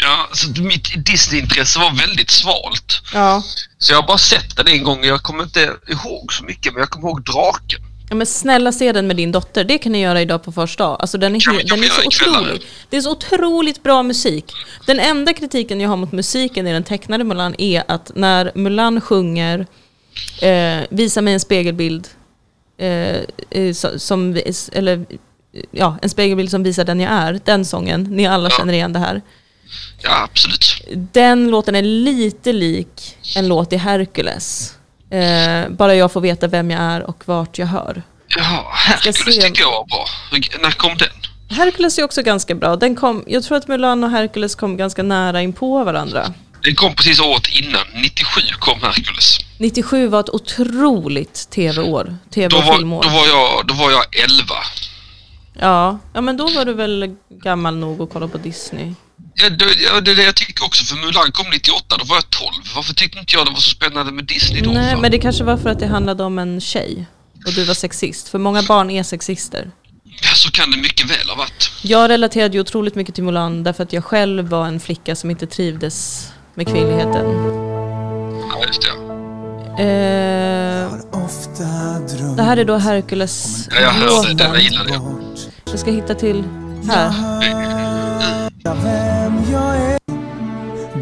S2: Ja, så mitt Disney-intresse var väldigt svalt.
S1: ja.
S2: Så jag har bara sett den en gång och jag kommer inte ihåg så mycket, men jag kommer ihåg draken.
S1: Ja, men snälla se den med din dotter, det kan ni göra idag på första dag. Alltså den är,
S2: Kan vi-
S1: he-
S2: kan
S1: den är
S2: vi göra
S1: så
S2: ikväll, eller?
S1: otrolig. Det är så otroligt bra musik. Den enda kritiken jag har mot musiken i den tecknade Mulan är att när Mulan sjunger eh, Visa mig en spegelbild, eh, eh, så- som, vi- eller eh, ja, en spegelbild som visar den jag är, den sången, ni alla
S2: Ja.
S1: känner igen det här.
S2: Ja, absolut.
S1: Den låten är lite lik en låt i Hercules. Eh, bara jag får veta vem jag är och vart jag hör.
S2: Ja,
S1: Ska
S2: Hercules
S1: se.
S2: tycker jag var bra. Hur- När kom den?
S1: Hercules är också ganska bra. Den kom, jag tror att Mulan och Hercules kom ganska nära in på varandra.
S2: Den kom precis året innan. 97 kom Hercules.
S1: 97 var ett otroligt tv-år. Tv
S2: Då
S1: och
S2: var,
S1: filmår.
S2: då, var jag, då var jag 11.
S1: Ja. ja, men då var du väl gammal nog att kolla på Disney.
S2: Ja, det, ja, det är det jag tycker också, för Mulan kom 98, då var jag 12. Varför tyckte inte jag det var så spännande med Disney då?
S1: Nej,
S2: för?
S1: men det kanske var för att det handlade om en tjej. Och du var sexist. För många barn är sexister.
S2: Ja, så kan det mycket väl ha varit.
S1: Jag relaterade ju otroligt mycket till Mulan därför att jag själv var en flicka som inte trivdes med kvinnligheten.
S2: Ja, just det.
S1: Eh,
S3: Har ofta drömt
S1: det här är då Hercules
S2: Ja, jag hörde den, jag
S1: låten.
S2: gillade den.
S3: bort.
S1: Jag ska hitta till här.
S3: Vem jag är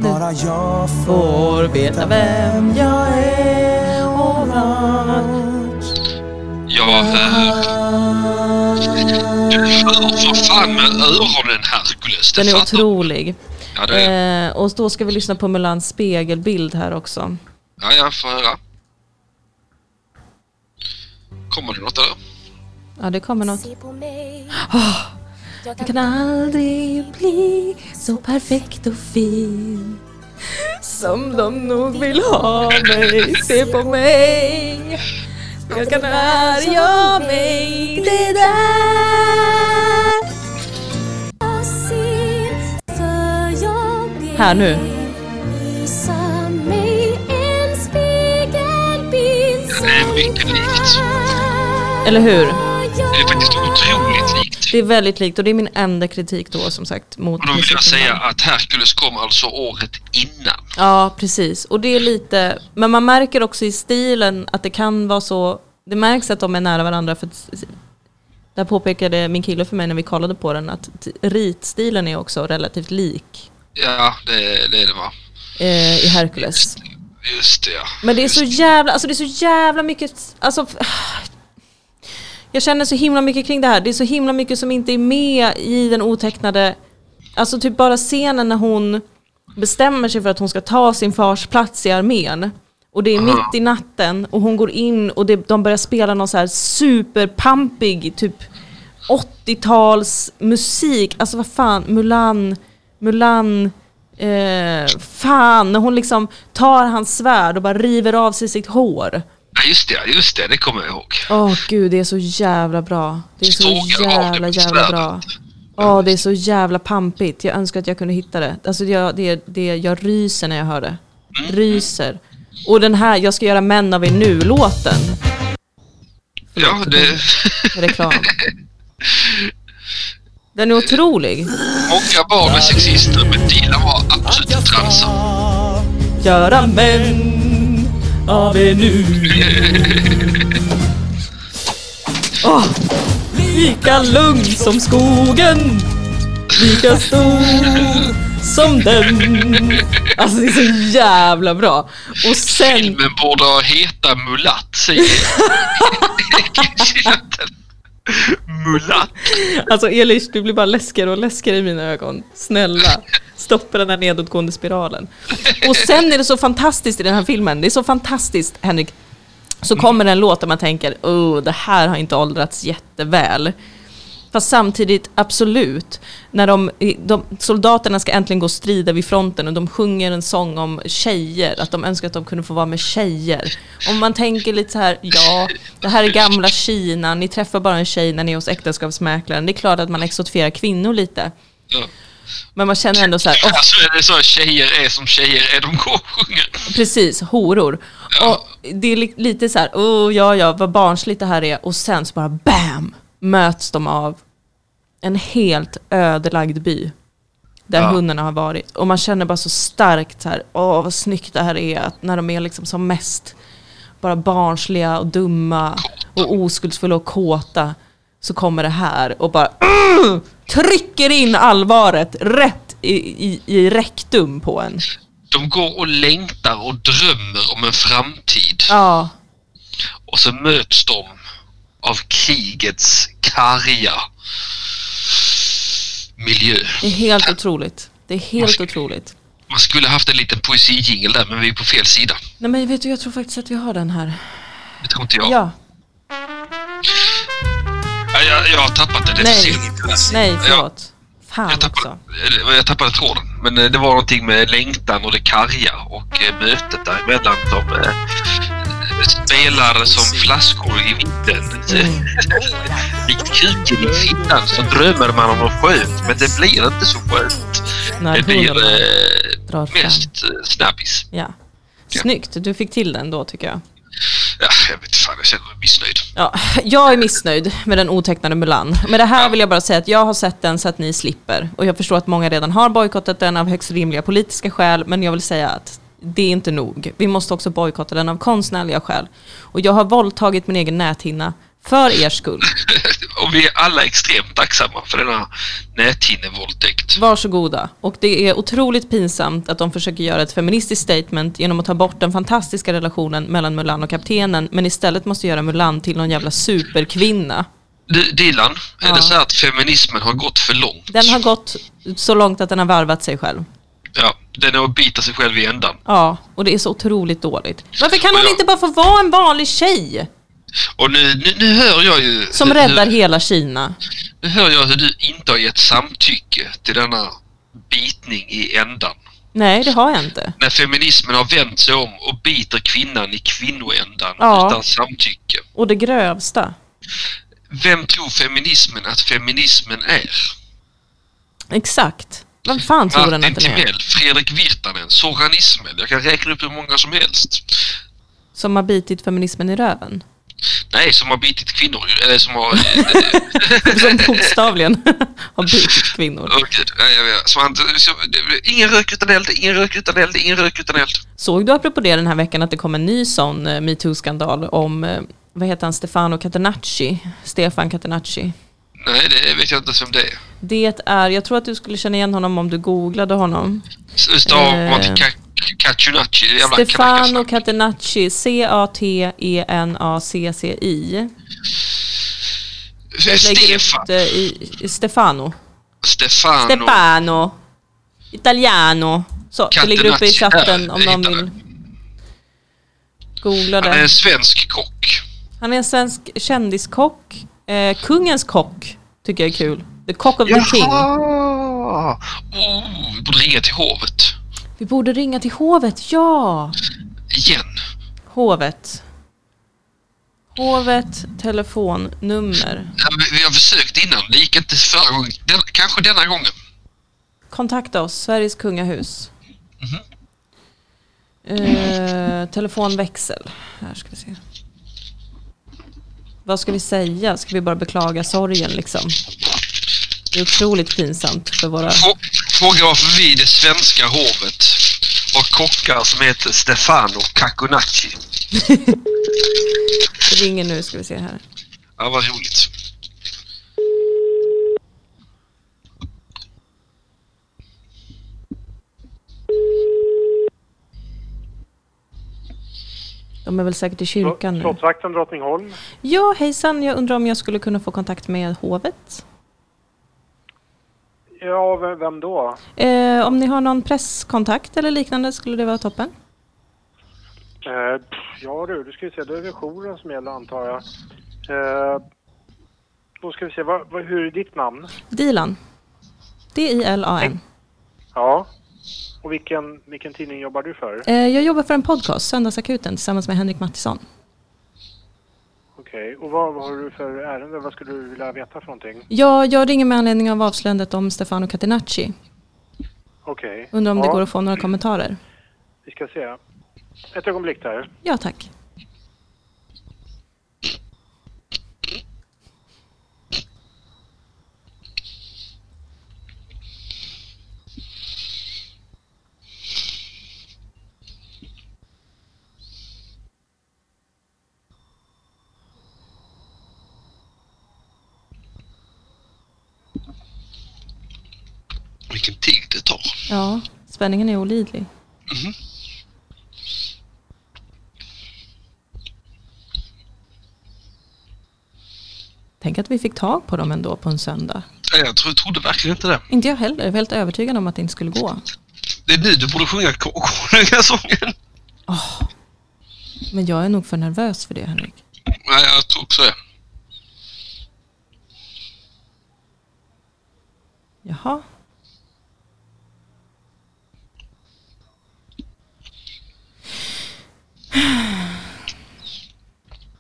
S3: bara jag får
S1: Får veta vem
S3: vem jag är och vart
S2: Jag hör... Du hör för fan med öronen Hercules. Det
S1: Den är
S2: fattar-
S1: otrolig.
S2: Ja, det är...
S1: Eh, och då ska vi lyssna på Melans spegelbild här också.
S2: ja, jag får höra. Kommer det något där?
S1: Ja, det kommer något. Ah,
S5: Se på mig. jag
S1: Jag
S5: kan
S1: kan aldrig bli så perfekt och fin som de nog vill ha mig. Se på mig. Jag kan arga mig. Det där.
S5: aldrig se för jag vill
S1: Här nu.
S5: Visa mig en spegelbild
S2: Det är mycket likt.
S1: Eller hur?
S2: Det är faktiskt otroligt likt.
S1: Det är väldigt likt och det är min enda kritik då som sagt mot
S2: Och då vill jag
S1: musiken.
S2: säga att Hercules kom alltså året innan.
S1: Ja, precis. Och det är lite, men man märker också i stilen att det kan vara så, det märks att de är nära varandra. För att, där påpekade min kille för mig när vi kollade på den att t- ritstilen är också relativt lik
S2: Ja, det, det är det va?
S1: eh, i Hercules.
S2: Just det ja.
S1: Men det är så jävla, alltså det är så jävla mycket, alltså jag känner så himla mycket kring det här. Det är så himla mycket som inte är med i den otecknade, alltså typ bara scenen när hon bestämmer sig för att hon ska ta sin fars plats i armén. Och det är mitt i natten och hon går in och det, de börjar spela någon så här superpampig typ 80-tals musik. Alltså vad fan, Mulan, Mulan, eh, fan. När hon liksom tar hans svärd och bara river av sig sitt hår.
S2: Ja, just det, ja, just det, det kommer jag ihåg.
S1: Åh gud, det är så jävla bra. Det är så
S2: Sågar av typ det
S1: jävla,
S2: med
S1: jävla
S2: svärdet.
S1: bra. Åh, det är så jävla pampigt. Jag önskar att jag kunde hitta det. Alltså, jag, det, det, jag ryser när jag hör det. Ryser. Och den här, jag ska göra män av er nu-låten.
S2: Ja, det...
S1: Reklam. Den är otrolig.
S2: Många barn är sexister, men Dilan var absolut en transa.
S3: ha
S1: Göra män av er nu. Åh, lika lugn som skogen, lika stor som den. Alltså det är så jävla bra. Och sen,
S2: Filmen borde ha heta Mulatt, säger jag. Mulatt.
S1: alltså Elish du blir bara läskigare och läskigare i mina ögon. Snälla, stoppa den här nedåtgående spiralen. Och sen är det så fantastiskt i den här filmen, det är så fantastiskt Henrik, så kommer det en låt där man tänker oh, det här har inte åldrats jätteväl. Fast samtidigt, absolut, när de, de, soldaterna ska äntligen gå och strida vid fronten och de sjunger en sång om tjejer, att de önskar att de kunde få vara med tjejer. Om man tänker lite så här, ja, det här är gamla Kina, ni träffar bara en tjej när ni är hos äktenskapsmäklaren. Det är klart att man exotifierar kvinnor lite.
S2: Ja.
S1: Men man känner ändå så här, åh,
S2: Alltså är det så att tjejer är som tjejer är, de går och sjunger.
S1: Precis, horor.
S2: Ja.
S1: Och det är li- lite så här, oh ja ja, vad barnsligt det här är. Och sen så bara BAM! Möts de av en helt ödelagd by. Där
S2: Ja.
S1: hundarna har varit. Och man känner bara så starkt så här, åh vad snyggt det här är. Att när de är liksom som mest bara barnsliga och dumma och oskuldsfulla och kåta. Så kommer det här och bara "Ugh!" trycker in allvaret rätt i, i, i rektum på en.
S2: De går och längtar och drömmer om en framtid.
S1: Ja,
S2: Och så möts de av krigets karga miljö.
S1: Det är helt otroligt. Det är helt otroligt.
S2: Man skulle haft en liten poesijingel där, men vi är på fel sida.
S1: Nej men vet du, jag tror faktiskt att vi har den här.
S2: Det tror inte jag.
S1: Ja.
S2: Ja, Jag, jag har tappat det. det är för
S1: Nej.
S2: sent.
S1: Nej, förlåt. Fan
S2: Jag tappade,
S1: också.
S2: eller, jag tappade tråden. Men eh, det var någonting med längtan och det karga och eh, mötet däremellan. De eh, spelar som flaskor i vinden.
S1: Mm.
S2: Likt kuken i fittan så drömmer man om något skönt, men det blir inte så skönt.
S1: När
S2: det blir
S1: hundarna
S2: eh,
S1: drar fram.
S2: mest eh, snabbis.
S1: Ja. Snyggt, du fick till den då tycker jag.
S2: Ja, jag vet fan, jag känner mig missnöjd.
S1: Ja, jag är missnöjd med den otecknade Mulan. Med det här vill jag bara säga att jag har sett den så att ni slipper. Och jag förstår att många redan har bojkottat den av högst rimliga politiska skäl, men jag vill säga att det är inte nog. Vi måste också bojkotta den av konstnärliga skäl. Och jag har våldtagit min egen näthinna För er skull.
S2: Och vi är alla extremt tacksamma för denna näthinnevåldtäkt.
S1: Varsågoda. Och det är otroligt pinsamt att de försöker göra ett feministiskt statement genom att ta bort den fantastiska relationen mellan Mulan och kaptenen, men istället måste göra Mulan till någon jävla superkvinna.
S2: Du, Dilan, är
S1: Ja.
S2: det så här att feminismen har gått för långt?
S1: Den har gått så långt att den har varvat sig själv.
S2: Ja, den är att bita sig själv i ändan.
S1: Ja, och det är så otroligt dåligt. Varför kan
S2: Och
S1: hon
S2: jag-
S1: inte bara få vara en vanlig tjej?
S2: Och nu, nu, nu hör jag ju...
S1: Som
S2: hur,
S1: räddar hela Kina.
S2: Nu hör jag hur du inte har gett samtycke till denna bitning i ändan.
S1: Nej, det har jag inte.
S2: När feminismen har vänt sig om och biter kvinnan i kvinnoändan
S1: Ja.
S2: utan samtycke.
S1: Och det grövsta.
S2: Vem tror feminismen att feminismen är?
S1: Exakt. Vem fan tror den
S2: Martin
S1: att den är?
S2: Timell, Fredrik Virtanen, Soran Ismail. Jag kan räkna upp hur många som helst.
S1: Som har bitit feminismen i röven.
S2: Nej, som har bitit kvinnor. Eller som har...
S1: Som bokstavligen har bitit kvinnor.
S2: Åh gud. Nej, jag vet. Som han- som- Ingen rök utan eld, ingen rök utan eld, ingen rök utan eld.
S1: Såg du apropå det den här veckan att det kom en ny sån eh, metoo-skandal om, eh, vad heter han, Stefano Catenacci? Stefan Catenacci.
S2: Nej, det vet jag inte ens vem det är.
S1: Det är, jag tror att du skulle känna igen honom om du googlade honom.
S2: Stavar man
S1: Eh.
S2: till Cacciunacci? Det jävla alltså.
S1: Stefano
S2: kanackas-
S1: Catenacci, E C-A-T-E-N-A-C-C-I.
S2: Eh,
S1: Lägger
S2: Stefan!
S1: ut, eh, i, i Stefano.
S2: Stefano.
S1: Stefano. Italiano. Så, det ligger uppe i
S2: Catenacci. Äh,
S1: chatten om någon
S2: Jag hittar
S1: vill
S2: det.
S1: googla
S2: Han är
S1: det.
S2: en svensk kock.
S1: Han är en svensk kändiskock. Eh, kungens kock tycker jag är kul. The cock of the king.
S2: Jaha! Oh, vi borde ringa till hovet.
S1: Vi borde ringa till hovet, ja!
S2: Igen.
S1: Hovet. Hovet telefonnummer.
S2: Ja, men Vi har försökt innan, det gick inte förra gången. Den, kanske denna gången.
S1: Kontakta oss, Sveriges kungahus. Eh, telefonväxel. Här ska vi se. Vad ska vi säga? Ska vi bara beklaga sorgen liksom? Det är otroligt pinsamt för våra...
S2: Frå- Fråga varför vi i det svenska hovet har kockar som heter Stefano Cacunacci.
S1: Det ringer nu, ska vi se här.
S2: Ja, vad roligt.
S1: De är väl säkert i kyrkan nu.
S6: Slottsvakten Drottningholm.
S1: Ja, hejsan. Jag undrar om jag skulle kunna få kontakt med hovet?
S6: Ja, v- vem då?
S1: Eh, om ni har någon presskontakt eller liknande skulle det vara toppen.
S6: Eh, pff, ja du, du ska vi se, då är det jouren som gäller antar jag. Eh, då ska vi se, vad, vad, hur är ditt namn?
S1: Dilan. D-I-L-A-N.
S6: Ja. Och vilken, vilken tidning jobbar du för?
S1: Eh, jag jobbar för en podcast, Söndagsakuten, tillsammans med Henrik Mattisson.
S6: Okej, och vad, vad har du för ärende? Vad skulle du vilja veta för någonting?
S1: Jag, jag ringer med anledning av avslöjandet om Stefano Catenacci.
S6: Okej.
S1: Undrar om
S6: ja,
S1: det går att få några kommentarer.
S6: Vi ska se. Ett ögonblick där.
S1: Ja, tack.
S2: Vilken tid det tar.
S1: Ja, spänningen är olidlig.
S6: Mhm.
S1: Tänk att vi fick tag på dem ändå på en söndag.
S2: Nej, jag tro- trodde verkligen inte det.
S1: Inte jag heller. Jag var helt övertygad om att det inte skulle gå.
S2: Det är nu du borde sjunga ko- konungasången.
S1: Men jag är nog för nervös för det, Henrik.
S2: Nej, jag tror också det.
S1: Jaha.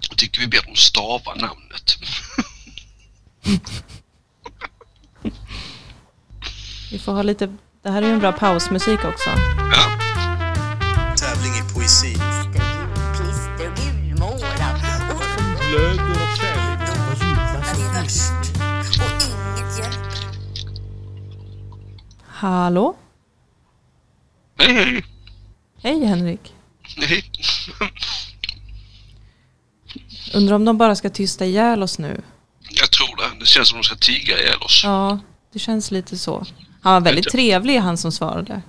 S2: Jag tycker vi ber dem stava namnet.
S1: Vi får ha lite... Det här är ju en bra pausmusik också.
S2: Ja.
S7: tävling i poesi.
S8: Klister, gulmålad och det är värst. Och inget hjälper.
S1: Hallå?
S2: Hej, hej.
S1: Hej Henrik.
S2: Hej.
S1: Undrar om de bara ska tysta ihjäl oss nu.
S2: Jag tror det. Det känns som de ska tiga ihjäl oss. Ja.
S1: Ja, det känns lite så. Han var väldigt trevlig han som svarade.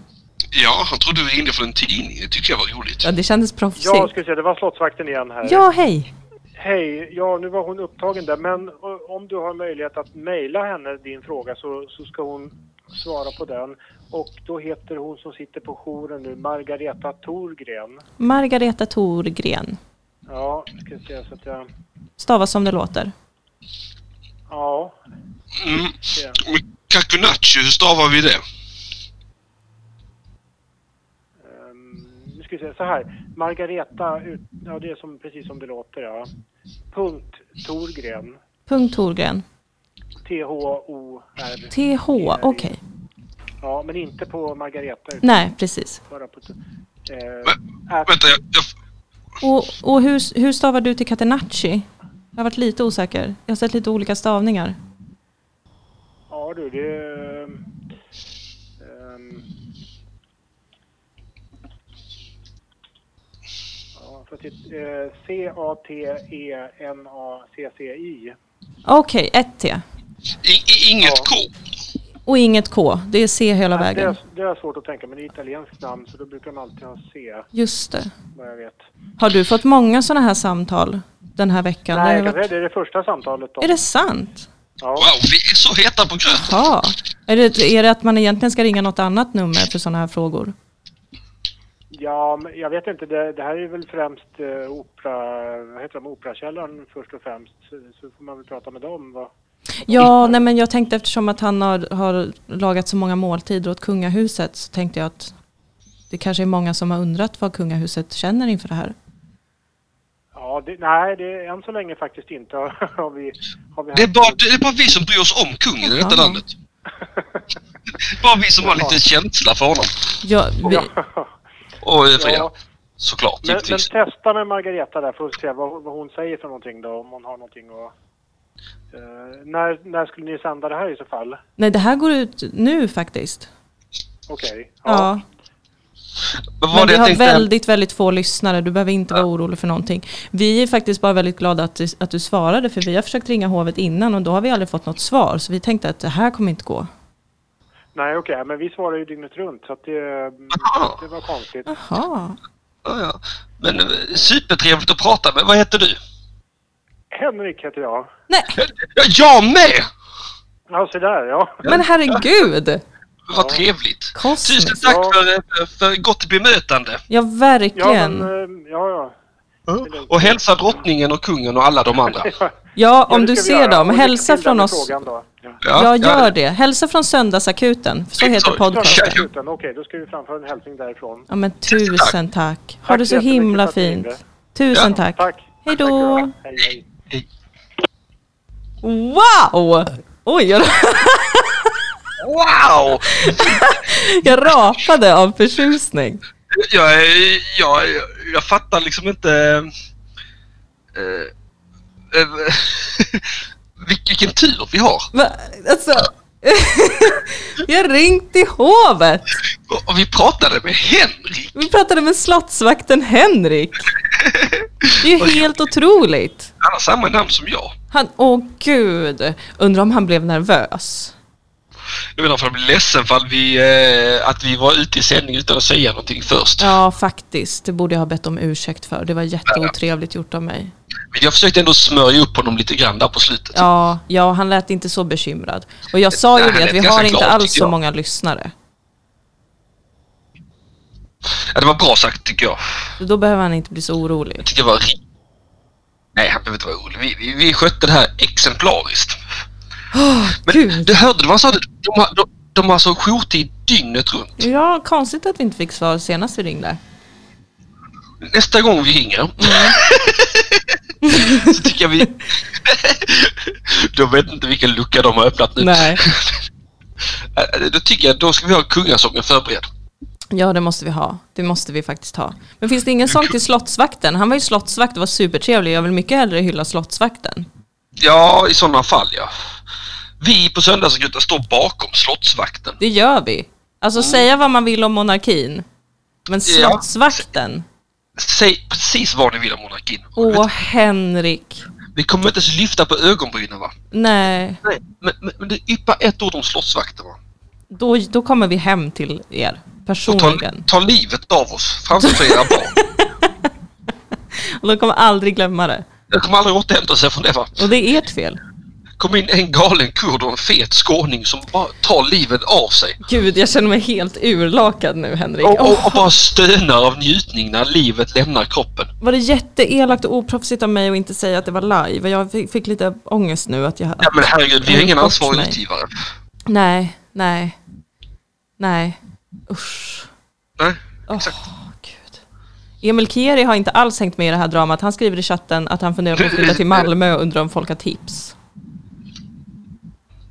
S2: han trodde vi ringde från en tidning. Det tycker jag var roligt.
S1: Ja, det kändes
S6: Ja,
S1: proffsigt.
S6: ska vi se, det var slottsvakten igen här.
S1: Ja, hej!
S6: Hej, ja nu var hon upptagen där, men eh, om du har möjlighet att mejla henne din fråga så, så ska hon svara på den. Och då heter hon som sitter på jouren nu Margareta Thorgren.
S1: Margareta Thorgren.
S6: Ja, ska se så att jag...
S1: Stavas som det låter.
S6: Ja,
S2: Mm. Men Kakunachi, hur stavar vi det?
S6: ehm, nu ska vi se så här. Margareta, ut- ja det är som, precis som det låter ja. Punkt Thorgren.
S1: Punkt Thorgren.
S6: T-H-O-R.
S1: TH, okej.
S6: Ja, men inte på Margareta utan
S1: Nej, precis.
S6: bara på... Eh,
S2: Vä- Vänta, jag, jag,
S1: Och, och hur, hur stavar du till Catenacci? Jag har varit lite osäker. Jag har sett lite olika stavningar.
S6: Ja du, det... ehm, ehm, ja, för att det- eh, E C-A-T-E-N-A-C-C-I.
S1: Okej, ett T.
S2: i, i, inget
S6: Ja.
S2: K.
S1: Och inget K. Det är C hela
S6: Det
S1: vägen.
S6: är, det är svårt att tänka, men det är italienskt namn så då brukar de alltid ha C,
S1: Just det.
S6: vad jag vet.
S1: Har du fått många sådana här samtal den här veckan?
S6: Nej, jag
S1: Det
S6: kan
S1: har
S6: säga
S1: varit...
S6: det är det första samtalet då.
S1: Är det sant?
S6: Ja.
S2: Wow, vi är så heta på gröt.
S1: Ja. Är det, är det att man egentligen ska ringa något annat nummer för sådana här frågor?
S6: Ja, men jag vet inte. Det, det här är väl främst eh, opera, vad heter de, Operakällaren först och främst. Så, så får man väl prata med dem. Va?
S1: Ja, nej men jag tänkte eftersom att han har, har lagat så många måltider åt kungahuset så tänkte jag att det kanske är många som har undrat vad kungahuset känner inför det här.
S6: Ja, det, nej, det än så länge faktiskt inte har vi, har vi
S2: Det är,
S6: haft-
S2: bara, det är bara vi som bryr oss om kungen i detta
S1: Ja.
S2: landet. bara vi som har lite känsla för honom.
S1: Ja, vi,
S6: Ja,
S2: Och är fria.
S6: ja.
S2: Såklart,
S6: Men, men
S2: givetvis.
S6: testa med Margareta där för att se vad, vad hon säger för någonting då, om hon har någonting att... Eh, när, när skulle ni sända det här i så fall?
S1: nej, det här går ut nu faktiskt.
S6: Okej. Ja.
S1: Ja,
S2: Men vad
S1: men vi
S2: det jag
S1: har
S2: tänkte...
S1: väldigt, väldigt få lyssnare. Du behöver inte vara orolig för någonting. Vi är faktiskt bara väldigt glada att du, att du svarade för vi har försökt ringa hovet innan och då har vi aldrig fått något svar. Så vi tänkte att det här kommer inte gå.
S6: Nej, okej. Men vi svarar ju dygnet runt så att det, det var konstigt.
S1: Ja,
S2: Ja, ja. Men eh, supertrevligt att prata med. Vad heter du?
S6: Henrik heter jag.
S1: nej,
S2: Ja, jag med!
S6: Ja, se där. Ja.
S1: men herregud!
S2: Vad trevligt.
S1: Kosmiskt.
S2: Tusen tack
S6: Ja.
S2: för, eh, för gott bemötande.
S1: Ja,
S6: Ja,
S1: verkligen.
S6: men, eh, ja, ja.
S2: Och hälsa drottningen och kungen och alla de andra.
S6: Ja,
S1: Ja,
S6: det
S1: om du
S6: ska vi
S1: ser
S6: göra.
S1: dem,
S6: Och lycka
S1: hälsa
S6: till
S1: från
S6: med
S1: oss.
S6: Frågan då. Ja.
S1: jag gör det. Hälsa från Söndagsakuten, för så
S2: Sorry.
S1: heter podcasten.
S2: Kör.
S6: Utan, Okej, då ska vi framföra en hälsning därifrån.
S1: Ja, men tusen tack. Ha
S6: Tack
S1: det så
S6: så jättemycket
S1: himla
S6: för att du ringde.
S1: fint. Tusen
S2: Ja,
S1: tack.
S6: Tack.
S1: Hej
S6: Tack ska du
S1: då.
S6: ha. Hej, hej.
S1: Wow! Oj, jag,
S2: Wow!
S1: jag rapade av förtjusning.
S2: Jag, är- jag, jag, jag fattar liksom inte... Eh, eh, vil- vilken tur vi har!
S1: Va? Alltså, vi har ringt till hovet.
S2: Och- Och vi pratade med Henrik!
S1: Vi pratade med slottsvakten Henrik. Det är ju helt otroligt.
S2: Han har samma namn som jag.
S1: Han, åh gud, undrar om han blev nervös.
S2: Jag vet inte om han blir ledsen för att vi, eh, att vi var ute i sändning utan att säga någonting först.
S1: Ja, faktiskt. Det borde jag ha bett om ursäkt för. Det var jätteotrevligt gjort av mig.
S2: Men jag försökte ändå smörja upp honom lite grann där på slutet.
S1: Ja, ja, han lät inte så bekymrad. Och jag sa ju
S2: Nej, han
S1: det, att
S2: lät
S1: vi
S2: ganska
S1: har inte
S2: glad,
S1: alls
S2: tycker
S1: så
S2: jag.
S1: många lyssnare.
S2: Ja, det var bra sagt tycker jag.
S1: Så då behöver han inte bli så orolig.
S2: Jag tycker det var... ri- Nej, han behöver inte vara orolig. Vi, vi, vi skötte det här exemplariskt. Men
S1: Gud.
S2: du hörde vad han sa? De har, de, de har alltså jourtid dygnet runt.
S1: Ja, konstigt att vi inte fick svar senast vi ringde.
S2: Nästa gång vi ringer
S1: Mm.
S2: så tycker jag vi... de vet inte vilken lucka de har öppnat nu.
S1: Nej.
S2: Eh, Då tycker jag då ska vi ha kungasången förberedd.
S1: Ja, det måste vi ha. Det måste vi faktiskt ha. Men finns det ingen sång till slottsvakten? Han var ju slottsvakt och var supertrevlig. Jag vill mycket hellre hylla slottsvakten.
S2: Ja, i sådana fall ja. Vi på Söndagsakuten står bakom slottsvakten.
S1: Det gör vi. Alltså säga vad man vill om monarkin. Men
S2: Mm. Ja.
S1: slottsvakten,
S2: Säg precis vad ni vill om monarkin.
S1: Åh, Henrik.
S2: Vi kommer inte ens lyfta på ögonbrynen va?
S1: Nej,
S2: Nej. Men, men, men det yppar ett ord om slottsvakter va?
S1: då, då kommer vi hem till er
S2: Och ta,
S1: personligen.
S2: ta livet av oss framför era barn.
S1: Och de kommer aldrig glömma det.
S2: Jag kommer aldrig återhämta sig från det va?
S1: Och det är ert fel.
S2: kom in en galen kurd och en fet skåning som bara tar livet av sig.
S1: Gud, jag känner mig helt urlakad nu, Henrik.
S2: Och,
S1: Åh,
S2: och, och bara stönar av njutning när livet lämnar kroppen.
S1: var det jätteelakt och oproffsigt av mig att inte säga att det var live? Jag fick, fick lite ångest nu att jag...
S2: Ja men herregud, vi har ingen
S1: Bort
S2: ansvarig
S1: mig.
S2: utgivare.
S1: Nej, nej, nej. Usch.
S2: Nej,
S1: Åh,
S2: exakt.
S1: Gud. Emil Kieri har inte alls hängt med i det här dramat. Han skriver i chatten att han funderar på att flytta till Malmö och undrar om folk har tips.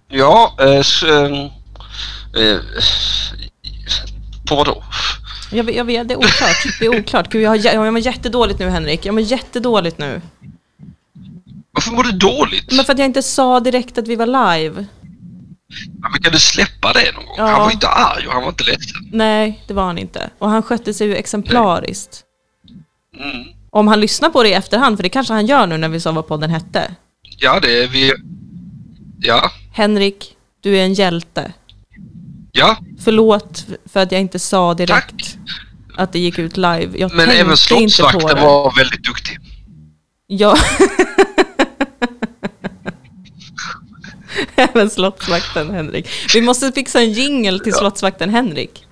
S2: Ja, eh, s- eh, eh, på vadå?
S1: Jag, vet- jag vet, det är oklart. Det är oklart. Gud, jag, har, jä- jag mår jättedåligt nu, Henrik. Jag mår jättedåligt nu.
S2: Varför mår du dåligt?
S1: Men för att jag inte sa direkt att vi var live.
S2: Ja, Men kan du släppa det någon gång?
S1: Ja.
S2: Han var inte arg och han var inte ledsen.
S1: Nej, det var han inte. Och han skötte sig ju exemplariskt.
S2: Mm.
S1: Om han lyssnar på det i efterhand, för det kanske han gör nu när vi sa vad podden hette.
S2: Ja, det är vi... Ja,
S1: Henrik, du är en hjälte.
S2: ja.
S1: Förlåt för att jag inte sa direkt
S2: Tack.
S1: att det gick ut live. Jag
S2: Men
S1: tänkte
S2: även
S1: inte på
S2: slottsvakten
S1: det.
S2: var väldigt duktig.
S1: Ja. även slottsvakten Henrik. Vi måste fixa en jingle till slottsvakten Henrik.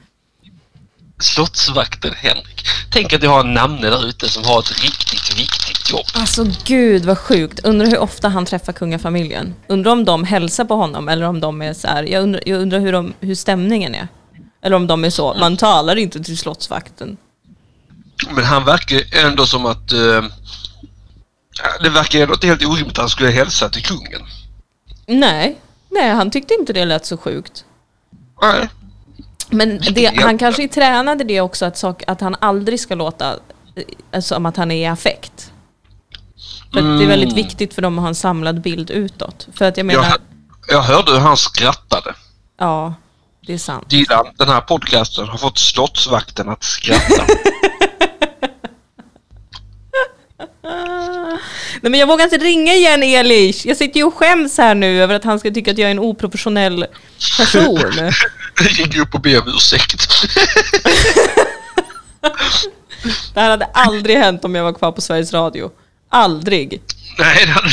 S2: Slottsvakten Henrik. Tänk att jag har en namne där ute som har ett riktigt viktigt jobb.
S1: Alltså gud vad sjukt. Undrar hur ofta han träffar kungafamiljen. Undrar om de hälsar på honom eller om de är så här. Jag undrar, jag undrar hur, de, hur stämningen är. Eller om de är så, man talar inte till slottsvakten.
S2: Men han verkar ju ändå som att... eh, ja, det verkar ju ändå inte helt orimligt att han skulle hälsa till kungen.
S1: Nej, nej han tyckte inte det lät så sjukt.
S2: Nej.
S1: Men det,
S2: Vilken
S1: han
S2: jävla-
S1: kanske tränade det också att, sak, att han aldrig ska låta eh, som att han är i affekt. För att det är väldigt viktigt för dem att ha en samlad bild utåt. För att jag menar,
S2: Jag, jag hörde hur han skrattade.
S1: ja det är sant.
S2: Dilan, den här podcasten har fått slottsvakten att skratta.
S1: Ah. Nej men jag vågar inte ringa igen Elish. Jag sitter ju och skäms här nu över att han ska tycka att jag är en oprofessionell person.
S2: Jag gick upp och be om ursäkt.
S1: Det här hade aldrig hänt om jag var kvar på Sveriges Radio. Aldrig.
S2: Nej, det hade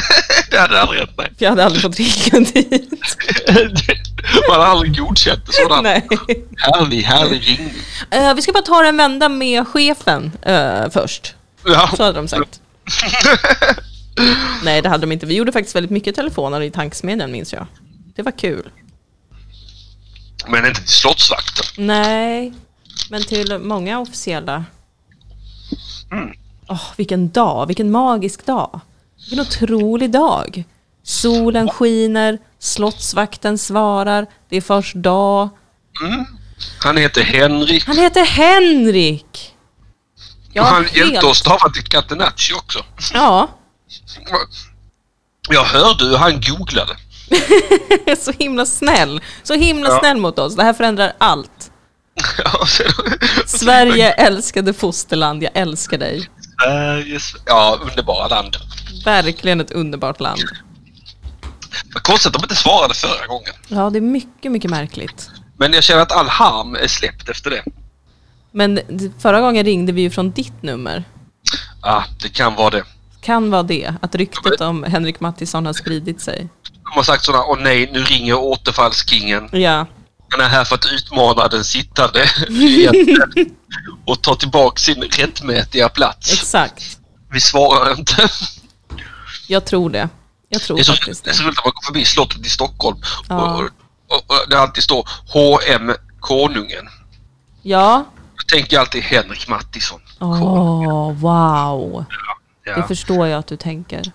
S2: det hade aldrig hänt. nej.
S1: För jag hade aldrig fått ringa dit.
S2: Man har aldrig godkänt en sådan
S1: Nej.
S2: härlig, härlig ringning.
S1: Eh, vi ska bara ta en vända med chefen eh, först.
S2: Ja.
S1: Så hade de sagt. Nej det hade de inte. Vi gjorde faktiskt väldigt mycket telefoner i tankesmedjan minns jag. Det var kul.
S2: Men inte till slottsvakten.
S1: Nej, men till många officiella.
S2: Mm.
S1: Åh, vilken dag, vilken magisk dag. Vilken otrolig dag. Solen skiner, slottsvakten svarar, det är först dag.
S2: Han heter Henrik.
S1: Han heter Henrik! Ja,
S2: och han
S1: helt-
S2: hjälpte oss stava till Catenacci också.
S1: Ja,
S2: Jag hörde hur han googlade.
S1: så himla snäll. Så himla
S2: Ja.
S1: snäll mot oss. Det här förändrar allt.
S2: Ja, och sen-
S1: Sverige älskade fosterland, jag älskar dig.
S2: Sveriges... Ja, underbara land.
S1: Verkligen ett underbart land.
S2: Vad Konstigt att de inte svarade förra gången.
S1: Ja, det är mycket, mycket märkligt.
S2: Men jag känner att all harm är släppt efter det.
S1: Men d- förra gången ringde vi ju från ditt nummer.
S2: Ja, det kan vara det.
S1: Kan vara det, att ryktet om Henrik Mattisson har spridit sig.
S2: De har sagt sådana, åh nej, nu ringer återfallskingen.
S1: Ja,
S2: Han är här för att utmana den sittande regeringen och ta tillbaka sin rättmätiga plats.
S1: exakt.
S2: Vi svarar inte.
S1: Jag tror det. Jag tror
S2: Det är så,
S1: Oh, faktiskt
S2: det är
S1: det.
S2: så roligt att man går förbi slottet i Stockholm
S1: Ja.
S2: och, och, och det alltid står H.M. Konungen.
S1: Ja.
S2: Jag tänker alltid Henrik Mattisson.
S1: Åh, wow. Det
S2: Ja.
S1: förstår jag att du tänker.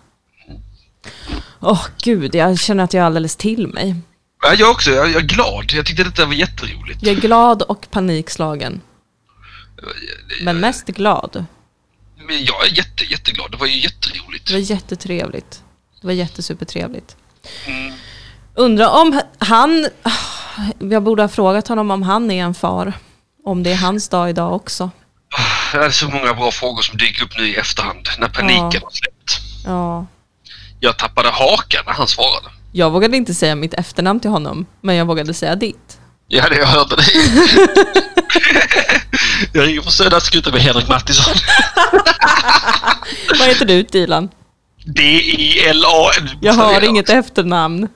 S1: Åh, gud, jag känner att jag är alldeles till mig.
S2: Ja, Jag också, jag, jag är glad. Jag tyckte detta var jätteroligt.
S1: Jag är glad och panikslagen. Men mest glad.
S2: Men jag är jätte, jätteglad. Det var ju jätteroligt.
S1: Det var jättetrevligt. Det var jättesupertrevligt. Undrar om han... Jag borde ha frågat honom om han är en far. Om det är hans dag idag också.
S2: det är så många bra frågor som dyker upp nu i efterhand när paniken har släppt.
S1: Ja.
S2: Jag tappade hakan när han svarade.
S1: Jag vågade inte säga mitt efternamn till honom, men jag vågade säga ditt.
S2: Ja, det jag hörde det. jag ringer från Södra Skuta med Henrik Mattisson.
S1: Vad heter du Dilan?
S2: D-I-L-A-N.
S1: Jag har inget efternamn.